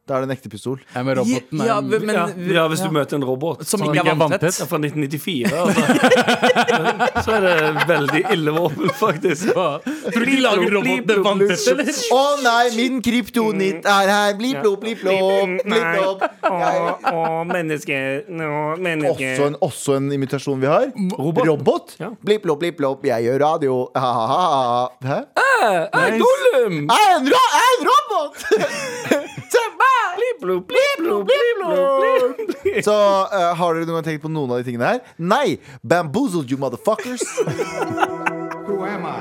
S4: Da er det en ekte pistol.
S5: Ja, men roboten
S2: Ja,
S5: er
S2: men,
S3: ja. ja, hvis du
S2: ja.
S3: møter en robot
S2: Som
S5: Som
S2: ikke
S5: ikke
S2: er
S5: er
S2: vanntett.
S5: vanntett.
S3: fra 1994, altså. så er det veldig ille våpen, faktisk.
S5: Tror du de lager roboter vanntett, eller?
S4: Å nei, min kryptonitt er her! Blip, blop, blip, blop. Mm. Blip, blop. Jeg-
S3: Å, menneske Å, menneske
S4: Også en, også en imitasjon vi har. Robot.
S3: Ja.
S4: Blipp, lopp, blipp, lopp, jeg gjør radio. Ha-ha-ha. Hæ?
S3: Nei, Gollum!
S4: Jeg er en, ro jeg er en robot! Se meg!
S3: Bliblo, bliblo, bliblo, bliblo.
S4: Så eh, har dere noen gang tenkt på noen av de tingene her? Nei! Bamboozled, you motherfuckers.
S7: Who am I?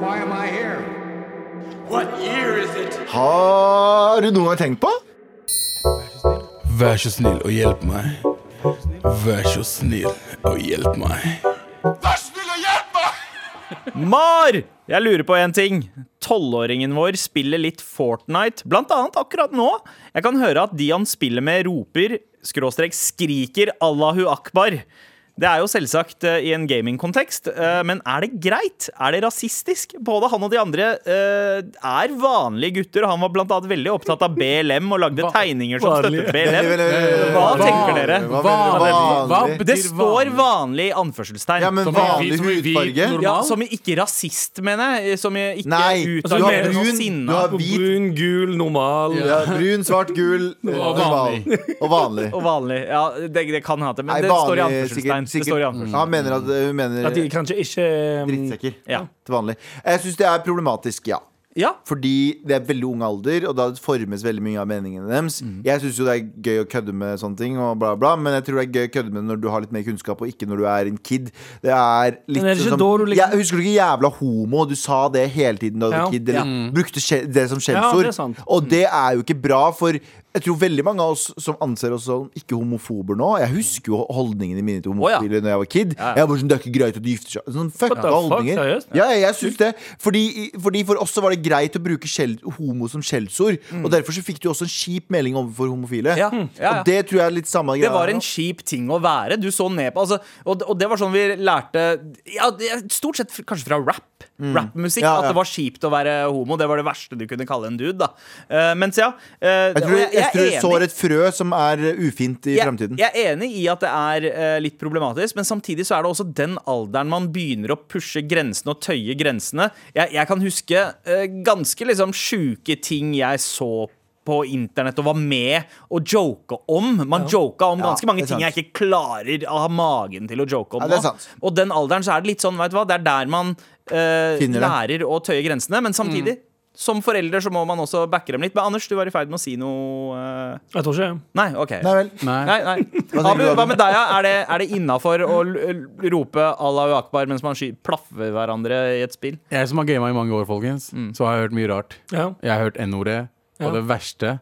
S7: Why am I here? What year is it?
S4: Har du noen gang tenkt på?
S8: Vær så snill og hjelp meg. Vær så snill og hjelp meg.
S2: Mar! Jeg lurer på en ting. Tolvåringen vår spiller litt Fortnite, blant annet akkurat nå. Jeg kan høre at de han spiller med, roper, skråstrek, skriker Allahu akbar. Det er jo selvsagt eh, i en gamingkontekst, eh, men er det greit? Er det rasistisk? Både han og de andre eh, er vanlige gutter, og han var blant annet veldig opptatt av BLM og lagde tegninger som støttet BLM. Hva tenker dere?
S4: Hva mener du
S5: Vanlig. Hva
S4: vanlig?
S5: betyr
S2: Det står vanlig i anførselstegn.
S4: Ja, men
S5: Som i
S4: vanlig
S5: hvit- som i hvit
S4: hudfarge?
S5: normal-
S2: Ja,
S5: Mal?
S2: som i ikke rasist, mener jeg. Som i ikke
S4: Nei, altså,
S2: ut
S4: du
S2: av
S4: har
S2: noe
S4: brun, du
S2: sinne.
S4: har hvit,
S3: Brun, gul, normal.
S4: ja, brun, svart, gul, eh, normal. Og vanlig.
S2: Og vanlig. Ja, det, det kan hende. Men
S4: Nei,
S2: det står i
S4: vanlig,
S2: anførselstegn.
S4: sikkert-
S2: Det står i anførselstegn.
S4: sikkert- Han mener at hun mener
S3: At de kanskje ikke um,
S4: drittsekker.
S2: Ja.
S4: Til vanlig. Jeg syns det er problematisk, ja.
S2: Ja.
S4: Fordi det er veldig ung alder, og da formes veldig mye av meningene deres.
S3: Mhm.
S4: Jeg syns jo det er gøy å kødde med sånne ting, og bla, bla, men jeg tror det er gøy å kødde med det når du har litt mer kunnskap, og ikke når du er en kid. Det er litt
S3: Men er det ikke
S4: sånn
S3: da du liksom-
S4: Jeg Husker du ikke jævla homo? Du sa det hele tiden da du
S3: Ja. Mm.
S4: var kid, eller brukte skje- det som
S3: Ja,
S4: skjellsord.
S3: det er sant. Mm.
S4: og det er jo ikke bra, for jeg tror veldig mange av oss som anser oss som ikke homofober nå Jeg husker jo holdningene mine til
S2: Å, ja.
S4: homofile Når jeg var kid. Jeg var sånn, Det er ikke greit at de gifter seg. Sånn fucka
S3: the fuck,
S4: holdninger.
S3: seriøst?
S4: Ja, jeg syns det. Fordi, fordi For oss så var det greit å bruke skjell, homo som skjellsord. Og derfor så fikk du også en kjip melding overfor homofile.
S2: Mm.
S4: Mm.
S2: Ja, ja, ja.
S4: Og det tror jeg er litt samme
S2: Det
S4: greia.
S2: var
S4: her
S2: en
S4: nå.
S2: kjip ting å være. Du så ned på altså, og, og det var sånn vi lærte ja, det- Stort sett kanskje fra rap. Rappmusikk.
S4: Mm. Ja,
S2: At
S4: ja.
S2: det var kjipt å være homo. Det var det verste du kunne kalle en dude. da Eh, Mens, ja eh,
S4: jeg
S2: og
S4: tror jeg, tror jeg
S2: er
S4: sår
S2: enig.
S4: et frø som er eh, ufint i
S2: jeg,
S4: fremtiden.
S2: jeg er enig i at det er eh, litt problematisk, men samtidig så er det også den alderen man begynner å pushe grensene og tøye grensene. Jeg, jeg kan huske eh, ganske liksom sjuke ting jeg så på internett og var med å joke om. Man joka om ganske
S4: Ja,
S2: mange
S4: det er
S2: ting jeg
S4: sant.
S2: ikke klarer å ha magen til å joke om.
S4: Ja, det er
S2: nå.
S4: sant.
S2: Og den alderen så er det litt sånn, vet du hva, det er der man eh,
S4: Finner det. Mm.
S2: lærer å tøye grensene, men samtidig Som forelder så må man også backe dem litt. Men Anders, du var i ferd med å si noe eh,
S3: Jeg tror ikke
S2: Nei, OK.
S4: Nei vel.
S5: Nei.
S2: Nei, nei.
S4: tenker
S2: Abu,
S4: du, Abu?
S2: hva med deg? ja? Er det, er det innafor å l- l- rope Allahu akbar mens man sky, plaffer hverandre i et spill?
S5: Jeg som har gama i mange år, folkens, så har jeg hørt mye rart.
S3: ja.
S5: Jeg har hørt N-ordet
S3: Ja.
S5: og det verste.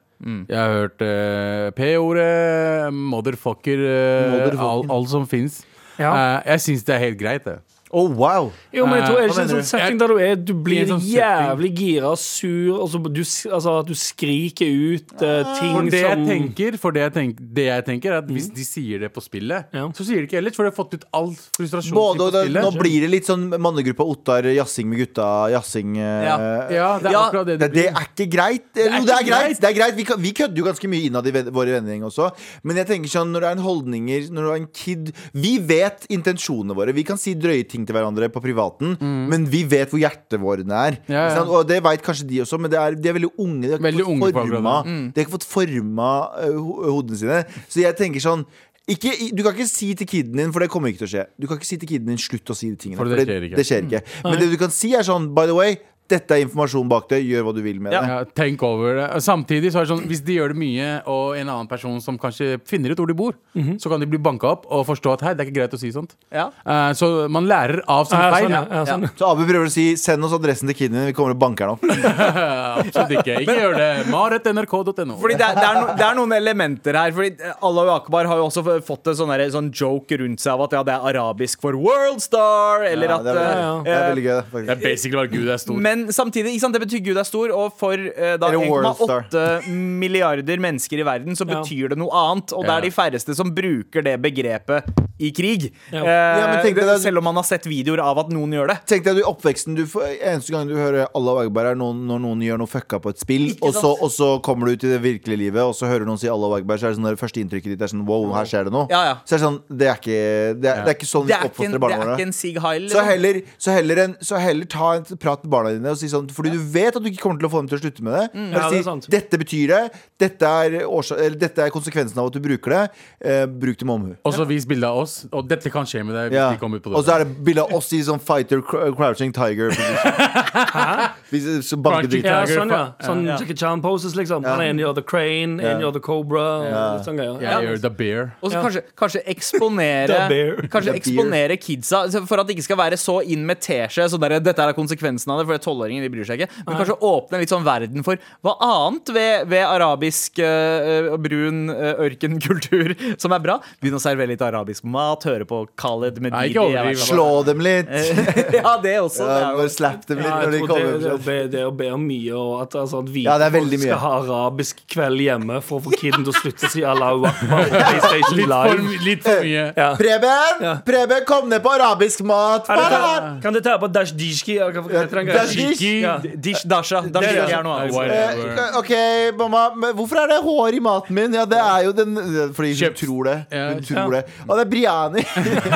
S5: Jeg har hørt eh, P-ordet, motherfucker, eh,
S4: Motherfucker.
S5: All, all som fins.
S3: Ja. Eh,
S5: Eh, jeg syns det er helt greit, det.
S4: Oh, wow.
S3: Jo, men jeg tror, Er det
S4: Hva
S3: ikke en
S4: mener
S3: sånn setting der du er Du blir
S5: en sånn setting.
S3: jævlig gira, sur og så du, s- Altså at du skriker ut eh, ting
S5: For det jeg
S3: som
S5: tenker, for det jeg tenk- det jeg tenker er at
S2: Mm.
S5: hvis de sier det på spillet,
S3: Ja.
S5: så sier de ikke ellers, for de har fått ut all
S2: Sånn
S5: frustrasjonen sin
S4: Både,
S5: på
S4: og det, nå
S5: spillet.
S4: blir det litt sånn mannegruppa Ottar, jazzing med gutta, jazzing eh,
S5: Ja. Ja, det er akkurat det det
S4: det er ikke greit. Jo, det
S5: ikke
S4: er greit.
S5: greit.
S4: Det er greit. Vi, kan- vi kødder jo ganske mye innad i ven- våre vennegjeng også. Men jeg tenker sånn, når det er en holdninger, når du er en kid Vi vet intensjonene våre. Vi kan si drøye ting til hverandre på privaten, men vi vet hvor hjertet vårt er.
S5: Mm. Ja,
S4: Ikke
S5: ja.
S4: sant? Og det veit kanskje de også, men det er, de er veldig unge. De har
S5: Veldig
S4: ikke
S5: unge altså. Mm.
S4: fått
S5: på
S4: forma,
S5: akkurat det.
S4: de har ikke fått forma eh, ho- hodene sine. Så jeg tenker sånn ikke, du kan ikke si til kiden din, for det kommer ikke til å skje Du kan ikke si til kiden din 'slutt å si de tingene'.
S5: For det skjer ikke.
S4: det skjer ikke.
S2: Mm.
S4: Men det du kan si, er sånn 'by the way, dette er informasjon bak det, gjør hva du vil med det'.
S5: Ja, tenk over det. Samtidig så er det sånn, hvis de gjør det mye, og en annen person som kanskje finner ut hvor de bor, så kan de bli banka opp og forstå at hei, det er ikke greit å si sånt.
S4: Ja.
S5: Eh, så man lærer av sine
S3: Ja,
S5: feil.
S3: sånn, ja, ja, sånn.
S4: Så Abu prøver å si 'send oss adressen til kiden din, vi kommer og banker den opp'.
S5: Absolutt ikke. Ikke gjør det. Maret.nrk.no.
S2: Fordi det er, det, er no, det er noen elementer her. Fordi eh, Allah Akbar har jo også f- fått en sånn, derre- sånn joke rundt seg av at ja, det er arabisk for worldstar, eller
S4: Ja,
S2: at
S4: det, er
S2: eh,
S4: veldig, det er veldig gøy, det, faktisk.
S5: er basically bare Gud er stor.
S2: Men samtidig, ikke sant, det betyr Gud er stor, og for eh, da
S4: Eller worldstar.
S2: 1,8 milliarder mennesker i verden, så
S3: Ja.
S2: betyr det noe annet. Og det
S5: Ja.
S2: er de færreste som bruker det begrepet i krig.
S3: Ja.
S2: Eh,
S4: Ja, men tenk deg
S2: det,
S4: det-
S2: selv om man har sett videoer av at noen gjør det.
S4: Tenk deg at du i oppveksten du får, Eneste gang du hører Allah Akbar er noen, når noen gjør noe fucka på et spill,
S2: Ikke
S4: og så,
S2: sant?
S4: og så kommer du ut i det virkelige livet, og så hører noen si Allah Akbar, så er det sånn der, første inntrykket ditt er sånn wow, her skjer det noe.
S2: Ja, ja.
S4: Så er det sånn Det er ikke, det er, det er ikke sånn
S2: Det
S4: vi
S2: er ikke en,
S4: oppfostrer
S2: det
S4: barna
S2: er
S4: våre.
S2: ikke en Sig Heil. liksom.
S4: Så heller, så, heller en, så heller ta en prat med barna dine og si sånn Fordi du vet at du ikke kommer til å få dem til å slutte med det. Bare
S3: Mm. Ja, det er
S4: si,
S3: sant.
S4: dette betyr det. Dette er, årsa eller, dette er konsekvensen av at du bruker det. Eh, bruk det med omhu.
S5: Og så vis bilde av oss, og dette kan skje med deg hvis
S4: Ja.
S5: de kommer ut på
S4: Og så er det bilde av oss i sånn Fighter cr- Crouching Tiger. Vi s- så banker
S5: Crouching
S4: dritt.
S3: Ja,
S5: Tiger,
S3: sånn, ja.
S5: fa-
S3: Sånn Jackie Chan-poses, liksom. Han er en gjør the crane, en gjør the cobra. og litt Sånn greier.
S5: Jeg gjør the bear.
S2: Og så kanskje, kanskje eksponere
S3: The bear.
S2: Kanskje
S4: The
S2: eksponere kidsa så for at det ikke skal være så inn med teskje. Sånn der, dette er konsekvensen av det, for tolvåringer de bryr seg ikke. Men kanskje åpne litt sånn verden for hva annet ved, ved arabisk øh, øh, brun øh, ørkenkultur som er bra. Begynne å servere litt arabisk mat, høre på Khaled
S5: Nei,
S2: Medidi.
S5: ikke overdriv.
S2: jeg vet ikke hva.
S4: Slå dem litt.
S2: ja, det også.
S4: Ja,
S2: det er
S4: bare
S2: jo-
S4: slapp dem litt
S3: Eh. Ja,
S4: når de
S3: jeg tror
S4: kommer.
S3: det, det, å be, det å be om mye, og at, altså, at vi
S4: Ja, det er veldig mye.
S3: skal ha arabisk kveld hjemme for å få kiden til å slutte å si Allahu akbar på PlayStation
S5: Litt
S3: Live.
S5: for, litt for mye.
S3: Ja.
S4: Preben! Preben, kom ned på arabisk mat!
S3: Er det
S4: Faen!
S3: ta- Kan du ta på dashdishki? eller hva- hva heter den greia?
S4: Dashdishki.
S3: Shiki? Ja.
S2: Dish dasha. Dasha
S4: Det er-
S2: er noe annet.
S5: Whatever.
S4: Eh, OK, mamma. Men hvorfor er det hår i maten min? Ja, det er jo den eh, Fordi hun
S5: Kjøpt.
S4: tror det.
S5: Ja,
S4: Hun tror det. Å, det er Briani!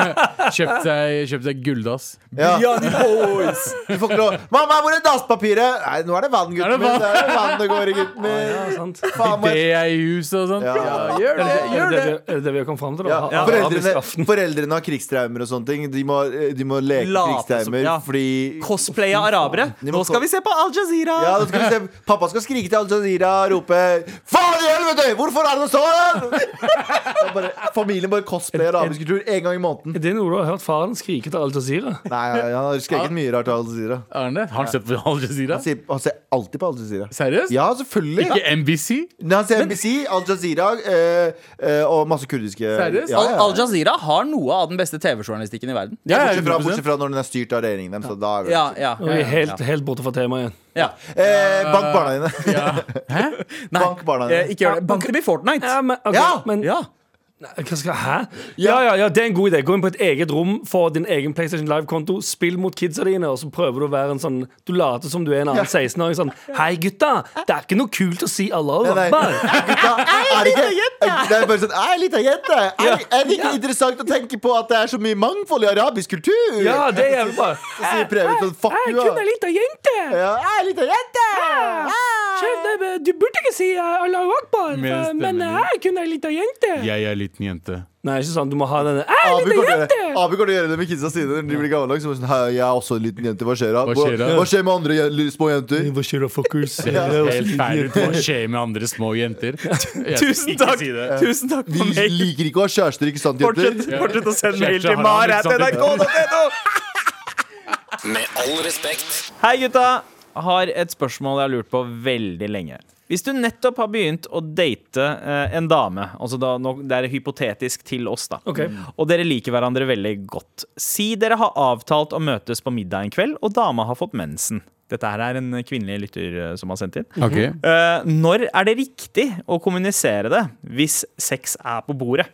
S5: Kjøpt seg, kjøpt seg gulldass.
S4: Ja.
S2: Briani boys!
S4: Du får ikke lov. Mamma, hvor er dasspapiret? Nei, nå er det vann,
S5: Er det
S4: gutten
S5: vann?
S4: min. Det er vann det går i, gutten min.
S3: Ja, sant.
S4: Faen, må
S5: Det
S4: jeg-
S5: er i hus og sånn.
S4: Ja, ja.
S5: gjør det!
S3: Er det det vi- er det det vi har kommet fram til? Da?
S4: Ja,
S3: Ha- arabisk
S4: foreldrene,
S3: aften.
S4: foreldrene har krigstraumer og sånne ting. De må, eh, de må leke
S2: Late som-
S4: krigstraumer
S2: ja.
S4: fordi
S2: Cosplay av arabere.
S4: De må
S2: Nå skal
S4: ko-
S2: vi se på Al Jazeera!
S4: Ja, da skal vi se. Pappa skal skrike til Al Jazeera og rope 'Faen i helvete! Hvorfor er det sånn?' Og bare, familien bare cosplayer arabisk kultur én gang i måneden.
S3: Er det noe du har hørt faren skrike til Al Jazeera?
S4: Nei, han har skreket mye rart til Al Jazeera.
S5: Er han det? Har han sett på Al Jazeera?
S4: Han sier- Han ser alltid på Al Jazeera.
S5: Seriøst?
S4: Ja, selvfølgelig.
S5: Ikke NBC?
S4: Når han ser NBC, Al Jazeera eh, eh, og masse kurdiske
S5: Seriøst?
S4: Ja, ja, ja.
S2: Al Jazeera har noe av den beste TV-journalistikken i verden.
S5: Ja,
S4: Bortsett fra,
S5: 100%.
S4: bortsett fra når den er styrt av regjeringen dem. Så da er det.
S2: Ja, ja,
S3: Og vi er
S2: ja,
S3: helt, helt borte fra temaet igjen.
S2: ja.
S4: Eh, bank barna dine.
S2: Nei,
S4: Bank barna dine.
S2: eh, ikke gjør det. Bank dem i Fortnite.
S3: Ja, men, ok,
S4: Ja!
S3: men
S2: Ja.
S3: Nei, Hva skal, hæ? Ja, ja, ja, det er en god idé. Gå inn på et eget rom, få din egen PlayStation Live-konto, spill mot kidsa dine, og så prøver du å være en sånn Du later som du er en annen 16-åring. Sånn Hei, gutta! Det er ikke noe kult å si Allahu
S4: Nei, nei.
S3: akbar.
S4: Gutta, er det ikke Det er bare sånn Jeg er lita jente. Er, er det ikke interessant å tenke på at det er så mye mangfold i arabisk kultur?
S3: Ja, det er jævlig bra.
S4: Så sier Preben sånn Fuck
S3: Jeg er
S4: you,
S3: kun
S4: da.
S3: ei lita jente.
S4: Ja, jeg er lita jente!
S3: Sjef, det- Du burde ikke si eh, Allahu akbar,
S5: Med
S3: eh, men
S5: stemmen.
S3: jeg er kun ei lita jente.
S5: Jeg er liten jente.
S3: Nei, ikke sant. Du må ha denne Jeg er
S4: Abu
S3: ei
S4: kommer
S3: lita
S4: til å gjøre-
S3: jente!
S4: Abu kommer til å gjøre det med kidsa sine når de blir gamle. Så er det sånn, «Hei, jeg er også en liten jente. Hva skjer da?
S5: Hva skjer da?»
S4: Hva skjer med andre jen- små jenter?
S3: Hva skjer da, fuckers?
S5: Helt feil ut. Hva skjer med andre små jenter? Jeg skal
S2: Tusen
S5: ikke
S2: takk,
S5: si det.
S2: tusen takk
S4: Vi
S2: for meg.
S4: liker ikke å ha kjærester, ikke sant,
S2: Fortsett,
S4: jenter?
S2: fortsett å sende
S5: Ja.
S2: mail til
S5: Kjæreste har han, ikke sant?
S2: mar.nrk.no.
S9: Med all respekt.
S2: Hei, gutta. Har et spørsmål jeg har lurt på veldig lenge. Hvis du nettopp har begynt å date eh, en dame, altså da, nå, det er hypotetisk til oss, da,
S3: Ok.
S2: og dere liker hverandre veldig godt Si dere har avtalt å møtes på middag en kveld, og dama har fått mensen. Dette her er en kvinnelig lytter eh, som har sendt inn.
S5: Ok.
S2: Eh, når er det riktig å kommunisere det hvis sex er på bordet?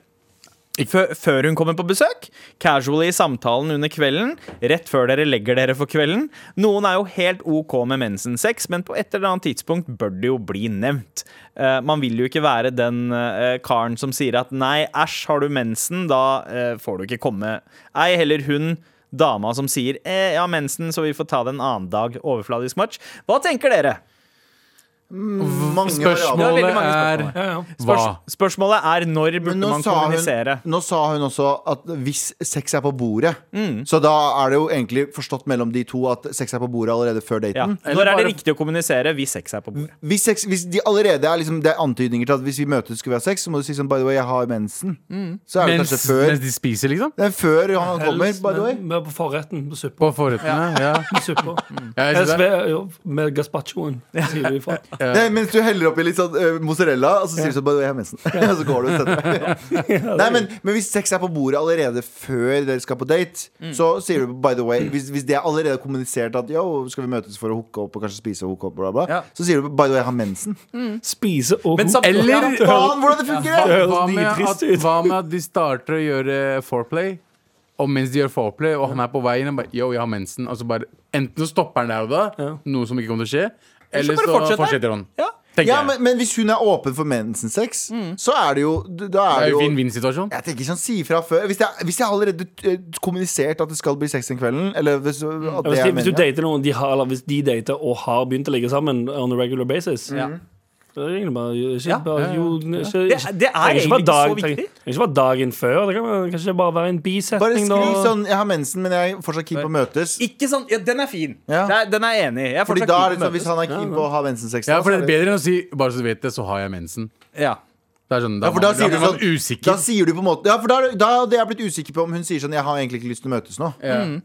S2: Før, før hun kommer på besøk, casually i samtalen under kvelden, rett før dere legger dere for kvelden. Noen er jo helt OK med mensen-sex, men på et eller annet tidspunkt bør det jo bli nevnt. Eh, man vil jo ikke være den eh, karen som sier at nei, æsj, har du mensen, da eh, får du ikke komme. Ei heller hun dama som sier eh, ja, mensen, så vi får ta det en annen dag. Overfladisk match. Hva tenker dere?
S4: Mange variabler.
S2: veldig
S5: Spørsmålet
S2: mange
S5: er
S4: Ah.
S2: spørsmål.
S5: hva?
S2: Spørsmålet er når burde
S4: Men nå
S2: man
S4: sa,
S2: kommunisere?
S4: hun, nå sa hun også at hvis sex er på bordet, så da er det jo egentlig forstått mellom de to at sex er på bordet allerede før
S2: Ja.
S4: daten.
S2: Når er det
S5: bare-
S2: riktig å kommunisere hvis sex er på bordet?
S4: Hvis, sex, hvis de allerede er liksom, det er antydninger til at hvis vi møtes skulle vi ha sex, så må du si sånn By the way, jeg har mensen. Så er det
S5: Mens,
S4: kanskje før.
S5: mens de spiser, liksom?
S4: Det er før han kommer, by the way.
S3: Men- men på forretten på suppa.
S5: På forrettene? Ja.
S3: Suppa.
S5: Ja, jeg synes det.
S3: SV, jo, med gazpachoen, sier vi ifra.
S4: Nei, mens du heller oppi litt sånn eh, mozzarella, og så sier du sånn By the way, jeg har mensen. Og så går du og setter deg. Nei, men, men hvis sex er på bordet allerede før dere skal på date,
S5: Mm.
S4: så sier du by the way Hvis, hvis det er allerede kommunisert at yo, skal vi møtes for å hooke opp og kanskje spise og hooke opp, bla, bla,
S5: Ja.
S4: så sier du by the way, jeg har mensen.
S3: Spise og
S2: Men sam-
S5: Eller
S2: Ja,
S4: Faen, hvordan det funker, det!
S3: høres
S5: hva med,
S3: nitrist
S5: at,
S3: ut.
S5: hva med at de starter å gjøre foreplay, og mens de gjør foreplay, og han er på veien og bare Yo, jeg har mensen. Og så bare Enten så stopper han der og da,
S3: Ja.
S5: noe som ikke kommer til å skje, eller
S2: bare
S5: så
S2: fortsetter.
S5: fortsetter han.
S2: Ja.
S5: Tenker
S4: Ja,
S5: jeg.
S4: men, men hvis hun er åpen for mensensex, så er det jo Da
S5: Det
S4: er
S5: er
S4: det
S5: jo
S4: jo
S5: vinn-vinn-situasjon.
S4: jeg tenker ikke sånn, si fra før Hvis jeg, hvis jeg allerede eh, kommunisert at det skal bli sex den kvelden Eller hvis, at
S3: Ja,
S4: det
S3: Hvis,
S4: er
S3: de, Altså, hvis du
S4: meningen
S3: dater noen de har, eller hvis de dater og har begynt å ligge sammen on a regular basis
S4: Mm.
S3: da er det egentlig bare, ikke, bare, jo, ikke,
S2: Det- det er
S3: trenger
S2: egentlig
S3: være
S2: ikke så
S3: dag- trenger-
S2: viktig.
S3: trenger ikke være dagen før. Det kan være- kanskje bare være en
S4: Bare
S3: bisetning.
S4: skriv
S3: da.
S4: sånn, jeg har mensen, men jeg er fortsatt keen på å møtes
S2: Ikke sant? Ja, den er fin.
S4: Ja.
S2: Det er- Den er jeg enig i. Jeg er
S4: Fordi
S2: fortsatt
S4: da
S2: keen
S4: er
S2: på
S4: det
S2: å
S4: sånn, hvis
S2: møtes.
S4: han er keen på å ha mensensex
S5: Ja,
S4: da,
S5: for
S4: så
S5: det er bedre enn å si Bare så du vet det, så har jeg mensen.
S2: Ja.
S5: Det er sånn,
S4: ja, for da sier, du
S5: blir man
S4: sånn, da
S5: usikker.
S4: sier du på en måte Ja, for da, da hadde jeg blitt usikker på om hun sier sånn Jeg har egentlig ikke lyst til å møtes nå
S5: Ja.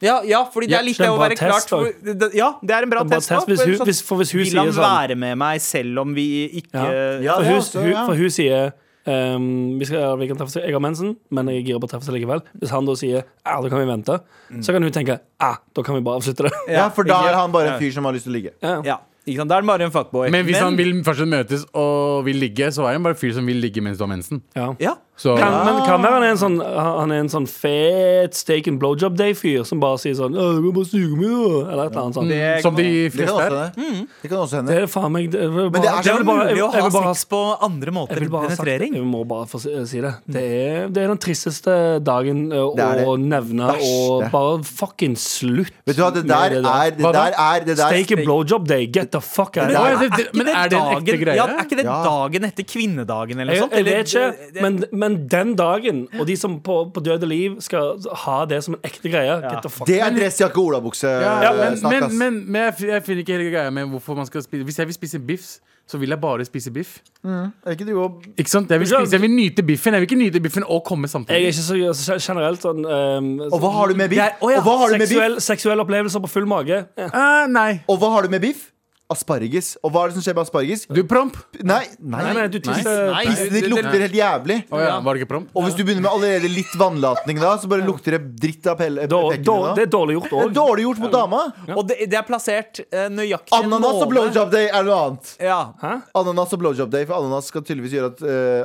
S2: Ja, ja, fordi det
S5: Ja,
S2: er litt
S3: det
S2: det
S3: er
S2: å
S3: bare
S2: være klart
S3: test,
S2: for, det- Ja, det er en bra
S3: Det er bare
S2: test. da,
S3: test, hvis
S2: for
S3: hun-
S2: sånn,
S3: hvis- for hvis hun
S2: Vil han
S3: sier sånn-
S2: være med meg selv om vi ikke
S3: Ja.
S4: Ja,
S3: for,
S4: det
S3: hun,
S4: er også,
S3: hun,
S4: ja.
S3: for hun sier ehm, vi skal, vi kan treffes, Jeg har mensen, men jeg er gira på å treffes likevel. Hvis han da sier ja, da kan vi vente, så kan hun tenke ja, da kan vi bare avslutte det.
S4: Ja, for da
S2: ikke-
S4: er han bare
S2: ja.
S4: en fyr som har lyst til å ligge
S3: Ja.
S2: Ja, ikke sant? Da er han bare en fuckboy.
S5: Men hvis han vil fortsatt møtes og vil ligge, så er han bare en fyr som vil ligge mens du har mensen.
S3: Ja.
S2: Ja.
S5: Så
S3: Kan, men det kan være han er en sånn Han er en sånn fet steak and blowjob day-fyr som bare sier sånn «Å, du kan bare suge meg, da», Eller et eller annet sånt.
S2: Det
S5: mm, som de
S4: Det kan
S5: fleste er.
S4: også hende Det kan også
S3: Det
S4: hende
S3: er faen meg det, er
S4: Men det er sånn
S3: jeg
S4: så
S3: vil bare- jeg-
S2: mulig å
S3: jeg vil bare
S2: ha sex på andre måter
S3: jeg vil
S2: enn
S3: bare ha sagt det.
S2: penetrering.
S3: Jeg må bare få si si det. Det er, det er den tristeste dagen eh, å
S4: Mm. Det er det
S3: nevne, og
S4: verste.
S3: bare fucking slutt.
S4: Vet du hva, det
S3: med
S4: der er Det
S3: Hva da?
S4: der er det der,
S3: Steak and blowjob day, get the fuck out
S4: Det
S3: of
S4: der
S3: here.
S4: er-
S5: Men det- Men er det en ekte
S2: dagen,
S5: greie?
S2: ja, er ikke det
S4: Ja.
S2: dagen etter kvinnedagen eller noe
S3: Jeg,
S2: sånt?
S3: jeg
S2: Eller-
S3: vet ikke, men, men den dagen, og de som på, på døde liv skal ha det som en ekte greie Get the fuck
S4: Det er dressjakke og olabukse eh,
S5: Ja, men,
S4: snakk, ass.
S5: men, men, men jeg, jeg finner ikke hele greia med hvorfor man skal spise Hvis jeg vil spise biff, så vil jeg bare spise biff.
S4: Er ikke du og
S5: Ikke sant? Jeg vil, spise, jeg vil nyte biffen. Jeg vil ikke nyte biffen og komme
S3: Jeg er
S5: samtidig.
S3: ikke så, så generelt sånn ehm,
S4: Og hva har du med biff?
S3: Det er- å ja,
S4: Og hva har du med biff?
S3: seksuell, seksuelle opplevelser på full mage. Eh,
S5: Eh, nei.
S4: Og hva har du med biff? Asparges. Og hva er det som skjer med asparges?
S5: Du promp.
S4: Nei, nei,
S3: Nei, nei, du tisser
S2: Nei.
S4: Pissen ditt lukter helt jævlig.
S5: Å ja, var det ikke promp?
S4: Og hvis du begynner med allerede litt vannlatning da, så bare lukter det dritt av pelle.
S3: Dår-
S4: pekkene
S3: dår-
S4: da.
S3: Det er dårlig gjort
S4: Det er
S3: òg.
S4: dårlig gjort mot dama.
S2: Og det, det er plassert eh, nøyaktig en
S4: Ananas og
S2: måned.
S4: blowjob day er noe annet.
S2: Ja.
S4: Ananas og blowjob day, for ananas skal tydeligvis gjøre at øh,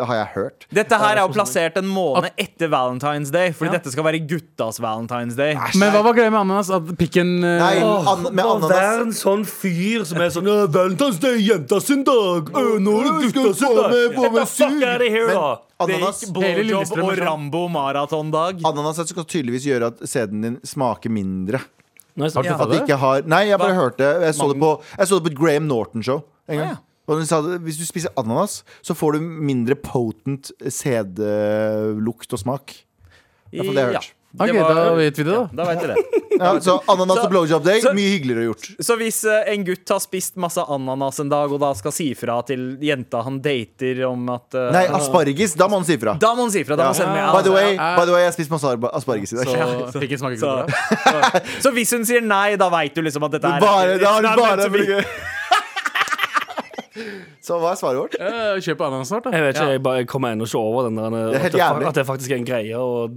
S4: øh, Har jeg hørt?
S2: Dette her er jo plassert en måned etter Valentine's Day, fordi dette skal være guttas Valentine's Day.
S5: Men hva var greia med ananas? At pikken eh,
S4: Nei, an med
S3: Vær
S4: ananas
S3: en sånn fyr som er sånn «Øh, 'Valentine's Day, jenta sin dag'. Øh, nå er det gutta sin dag.
S4: med- få
S3: Get
S4: med
S3: the fuck
S4: sug.
S3: out of here,
S4: Men-
S3: da.
S2: Det
S4: Ananas
S2: gikk
S5: hele
S2: blowjob
S5: Lillestrøm
S2: og
S5: er sånn.
S2: Rambo maratondag.
S4: Ananas skal tydeligvis gjøre at sæden din smaker mindre.
S3: Nei, så-
S5: Har du
S3: ja.
S4: At det ikke har Nei, jeg bare
S2: Hva?
S4: hørte Jeg så det på, jeg så det på et Graham Norton-show en gang.
S2: Ah, ja.
S4: Og hun sa det, Hvis du spiser ananas, så får du mindre potent sædlukt og smak. I hvert fall det jeg har hørt.
S5: Ok,
S2: Det var-
S5: da vet vi det, da.
S2: Ja, da vet vi det.
S4: Ja, så ananas
S2: Så-
S4: og blowjob day,
S2: så-
S4: mye hyggeligere gjort.
S2: Så hvis eh, en gutt har spist masse ananas en dag, og da skal si fra til jenta han dater om at eh,
S4: Nei, asparges, da må han si fra.
S2: Da må han si fra. Da må han sende med
S5: Ah.
S4: By the way, by the way jeg spiste masse arba- asparges i dag.
S5: Så pikken smaker ikke
S2: Så,
S5: så bra.
S2: så, så hvis hun sier nei, da veit du liksom at dette er
S4: Bare, da har du
S2: Nei, men så
S4: bare
S2: vi-
S4: Så hva er svaret vårt?
S5: Eh, Kjøp ananas snart, da.
S3: Jeg vet ikke, jeg, bare, jeg kommer ennå ikke over den der,
S4: er helt
S3: at, det, fa-
S4: jævlig.
S3: at det faktisk er en greie å,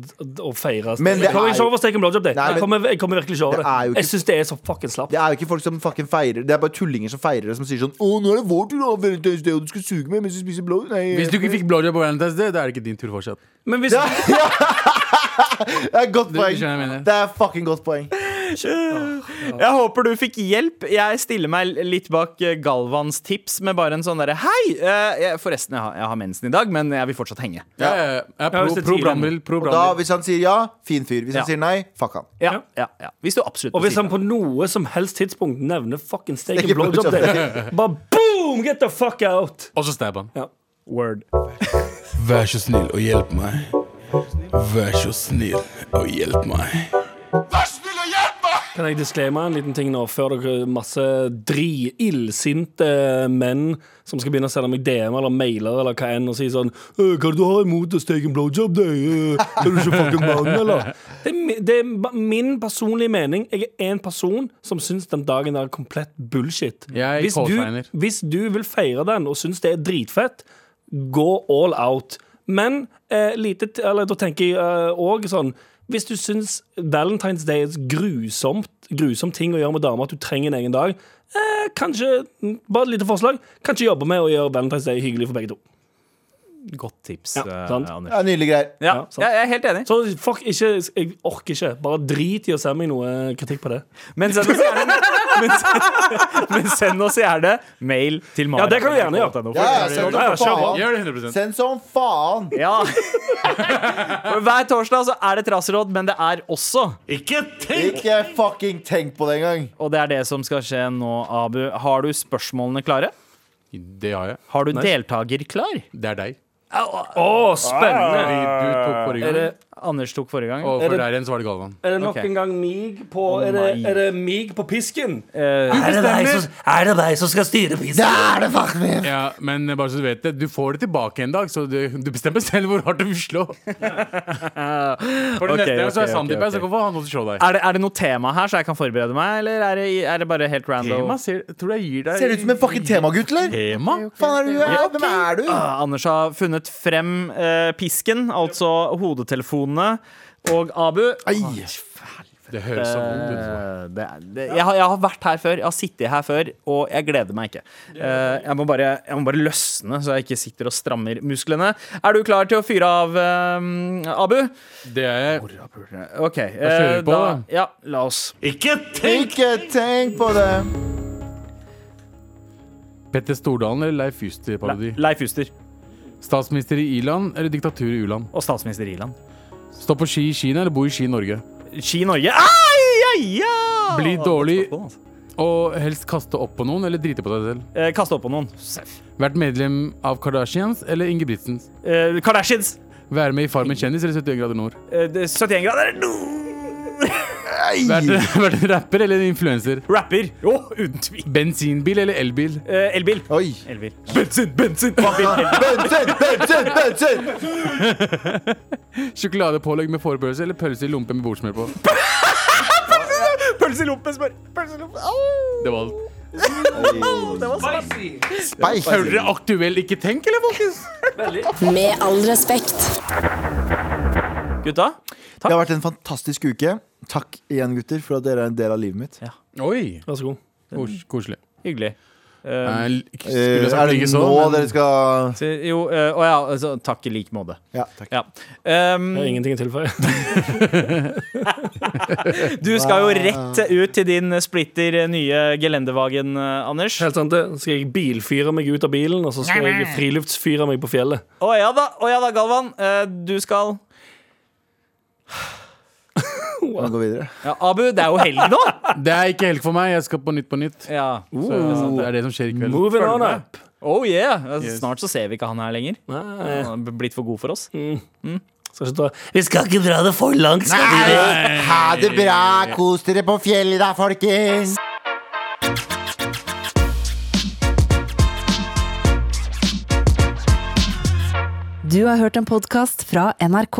S3: å feire.
S4: Men det
S3: jeg kommer
S4: er
S3: ikke
S4: jo-
S3: over steak and blowjob, det.
S4: Nei, men-
S3: jeg, kommer, jeg kommer virkelig ikke over
S4: Det
S3: det.
S4: er jo ikke-
S3: Jeg syns det er så fucking slapt.
S4: Det er jo ikke folk som fucking feirer Det er bare tullinger som feirer det, som sier sånn Å, nå er det vår tur, da! Valentine's Day, og du skal suge meg mens du spiser blod. Nei,
S5: Hvis du ikke fikk blowjob på Valentine's Day, da er det ikke din tur fortsatt.
S3: Men hvis,
S4: Det er et godt
S5: Du
S4: poeng.
S5: skjønner hva jeg mener.
S4: Det er fucking godt poeng.
S2: Jeg håper du fikk hjelp. Jeg stiller meg litt bak eh, Galvans tips med bare en sånn derre Hei! eh, jeg- Forresten, jeg har, jeg har mensen i dag, men jeg vil fortsatt henge.
S5: Ja, ja, ja. Jeg er
S3: Ja, hvis
S5: Pro,
S3: det
S5: pro
S3: tier
S5: Brannbil. Pro
S4: Og da,
S5: Brannbil.
S4: hvis han sier ja, fin fyr. Hvis han
S2: Ja.
S4: sier nei, fuck han.
S2: Ja, ja, ja. Hvis du absolutt
S3: og hvis
S2: sier
S3: han på noe som helst tidspunkt nevner fucking steak and
S4: Steak and
S3: blowjob, det bare boom! Get the fuck out!
S5: Og så stab han.
S2: word.
S8: Vær så snill og hjelp meg. Vær så snill og hjelp meg.
S3: Kan jeg disclaime en liten ting nå, før dere masse dri, illsinte menn som skal begynne å sende meg DM eller mailer eller hva enn, og si sånn «Øh, 'Hva er det du har imot å steke en blowjob, deg? Øh, Er du ikke fucking mann, eller?' Det er, mi- det er ba- min personlige mening. Jeg er en person som syns den dagen er komplett bullshit.
S5: Jeg
S3: hvis, du,
S5: callsigner.
S3: hvis du vil feire den og syns det er dritfett, gå all out. Men eh, lite, t- eller, da tenker jeg òg sånn Hvis du syns Valentine's Day er et grusomt, grusom ting å gjøre med damer, at du trenger en egen dag, eh, kanskje mm, Bare et lite forslag. Kanskje jobbe med å gjøre Valentine's Day hyggelig for begge to.
S2: Godt tips,
S3: Ja,
S2: eh,
S3: sant.
S2: Anders.
S4: Ja, Nydelige greier.
S2: Ja,
S3: Ja, sant.
S2: jeg jeg er helt enig.
S3: Så fuck ikke Jeg orker ikke. Bare drit i å sende meg noe kritikk på det.
S2: Men send oss gjerne, men send, men send oss gjerne mail til Mara.
S3: Ja, det kan du gjerne gjøre.
S4: Ja, ja, send
S3: Ja, ja,
S4: som faen.
S5: Gjør det 100
S4: Send som faen.
S2: Ja. For Hver torsdag så er det traseråd, men det er også
S4: Ikke fucking tenk på det engang.
S2: Og det er det som skal skje nå, Abu. Har du spørsmålene klare?
S5: Det har jeg.
S2: Har du deltaker klar?
S5: Det er deg.
S3: Å, spennende!
S5: Fordi du tok forrige
S2: Er det
S5: gang,
S2: Anders tok forrige gang.
S5: og før der igjen så var det Galvan.
S3: Er det nok
S2: Ok.
S3: en gang mig på er, det,
S2: nei.
S3: er det mig på pisken?
S2: Eh,
S3: Er det deg som, er det deg som skal styre pisken?
S5: Ja, men bare så du vet det, du får det tilbake en dag, så du, du bestemmer selv hvor hardt du vil slå. For det
S2: Ok,
S5: neste gang så
S2: ok,
S5: er Sandeep
S2: ok,
S5: her,
S2: ok.
S5: så hvorfor han også slå deg?
S2: er, det, er det noe tema her, så jeg kan forberede meg, eller er det, er det bare helt random?
S5: ser, tror jeg gir deg
S4: Ser ut som en fucking temagutt, eller?
S5: tema.
S4: Faen er du, ja, Hvem er du?
S2: Ah, Anders har funnet frem eh, pisken, altså hodetelefonene, og Abu
S4: Ai.
S5: Det høres så vondt ut.
S2: Eh, det, er- det, jeg, har, jeg har vært her før, jeg har sittet her før, og jeg gleder meg ikke. Eh, jeg, må bare, jeg må bare løsne, så jeg ikke sitter og strammer musklene. Er du klar til å fyre av, eh, Abu?
S5: Det er jeg.
S2: OK. eh,
S5: kjører vi på, da.
S2: ja, la oss.
S4: Ikke tenk på det.
S5: Petter Stordalen eller Leif Juster-parodi?
S2: Leif Juster
S5: Statsminister i i-land eller diktatur i u-land?
S2: og statsminister Iland.
S5: Stå på ski i Kina eller bo i ski i Norge?
S2: Ski Norge. Ai, ai, ja!
S5: Bli dårlig.
S2: Godt spørsmål, altså.
S5: Og helst kaste opp på noen eller drite på deg selv?
S2: Eh, kaste opp på noen.
S5: Vært medlem av Kardashians eller Ingebrigtsens?
S2: Eh, Kardashians.
S5: Være med i Farmen kjendis eller 71 grader nord?
S2: Eh, det- 71 grader nord.
S5: Vært, vært en rapper eller en influenser?
S2: Rapper. Å, uten tvil.
S5: Bensinbil eller elbil?
S2: Eh, elbil.
S4: Oi.
S2: Elbil.
S5: Bensin, bensin!
S4: Bensin, bensin, bensin!
S5: Sjokoladepålegg med forberedelse eller pølse i lompe med bordsmør på?
S2: Pølse i lompe, spør. Pølse i lompe. Au!
S5: Det var alt.
S4: Speik.
S5: Hører dere aktuell ikke tenk, eller, folkens?
S6: Med all respekt.
S2: Gutta?
S4: Det har vært en fantastisk uke. Takk igjen, gutter, for at dere er en del av livet mitt.
S5: Oi,
S3: Vær så god.
S5: kos, koselig.
S2: Hyggelig.
S5: Nei, l-
S4: Eh,
S5: skulle
S4: er
S5: sagt
S4: det
S5: ikke så,
S4: nå
S5: men
S4: dere skal
S2: Så, jo, eh, å ja, altså, takk i like måte.
S4: Ja, takk.
S2: Ja. Um,
S3: Det er ingenting å tilføye.
S2: du skal jo rett ut til din splitter eh, nye gelendevagen, eh, Anders.
S3: Helt sant det. Så skal jeg bilfyre meg ut av bilen, og så skal jeg friluftsfyre meg på fjellet.
S2: Å ja da, å ja da, Galvan. Eh, du skal
S4: Vi kan gå videre.
S2: ja, Abu, det er jo helg nå!
S5: Det er ikke helg for meg. Jeg skal på Nytt på Nytt.
S2: Ja.
S5: Så det er det som skjer i kveld.
S3: Moving on up.
S2: Oh yeah! Altså, Snart så ser vi ikke han her lenger.
S3: Nei,
S2: Han er blitt for god for oss.
S3: skal ikke dra. Vi skal ikke dra det for langt. Skal vi det?
S4: Ha det bra. Kos dere på fjellet, da, folkens.
S1: Du har hørt en podkast fra NRK.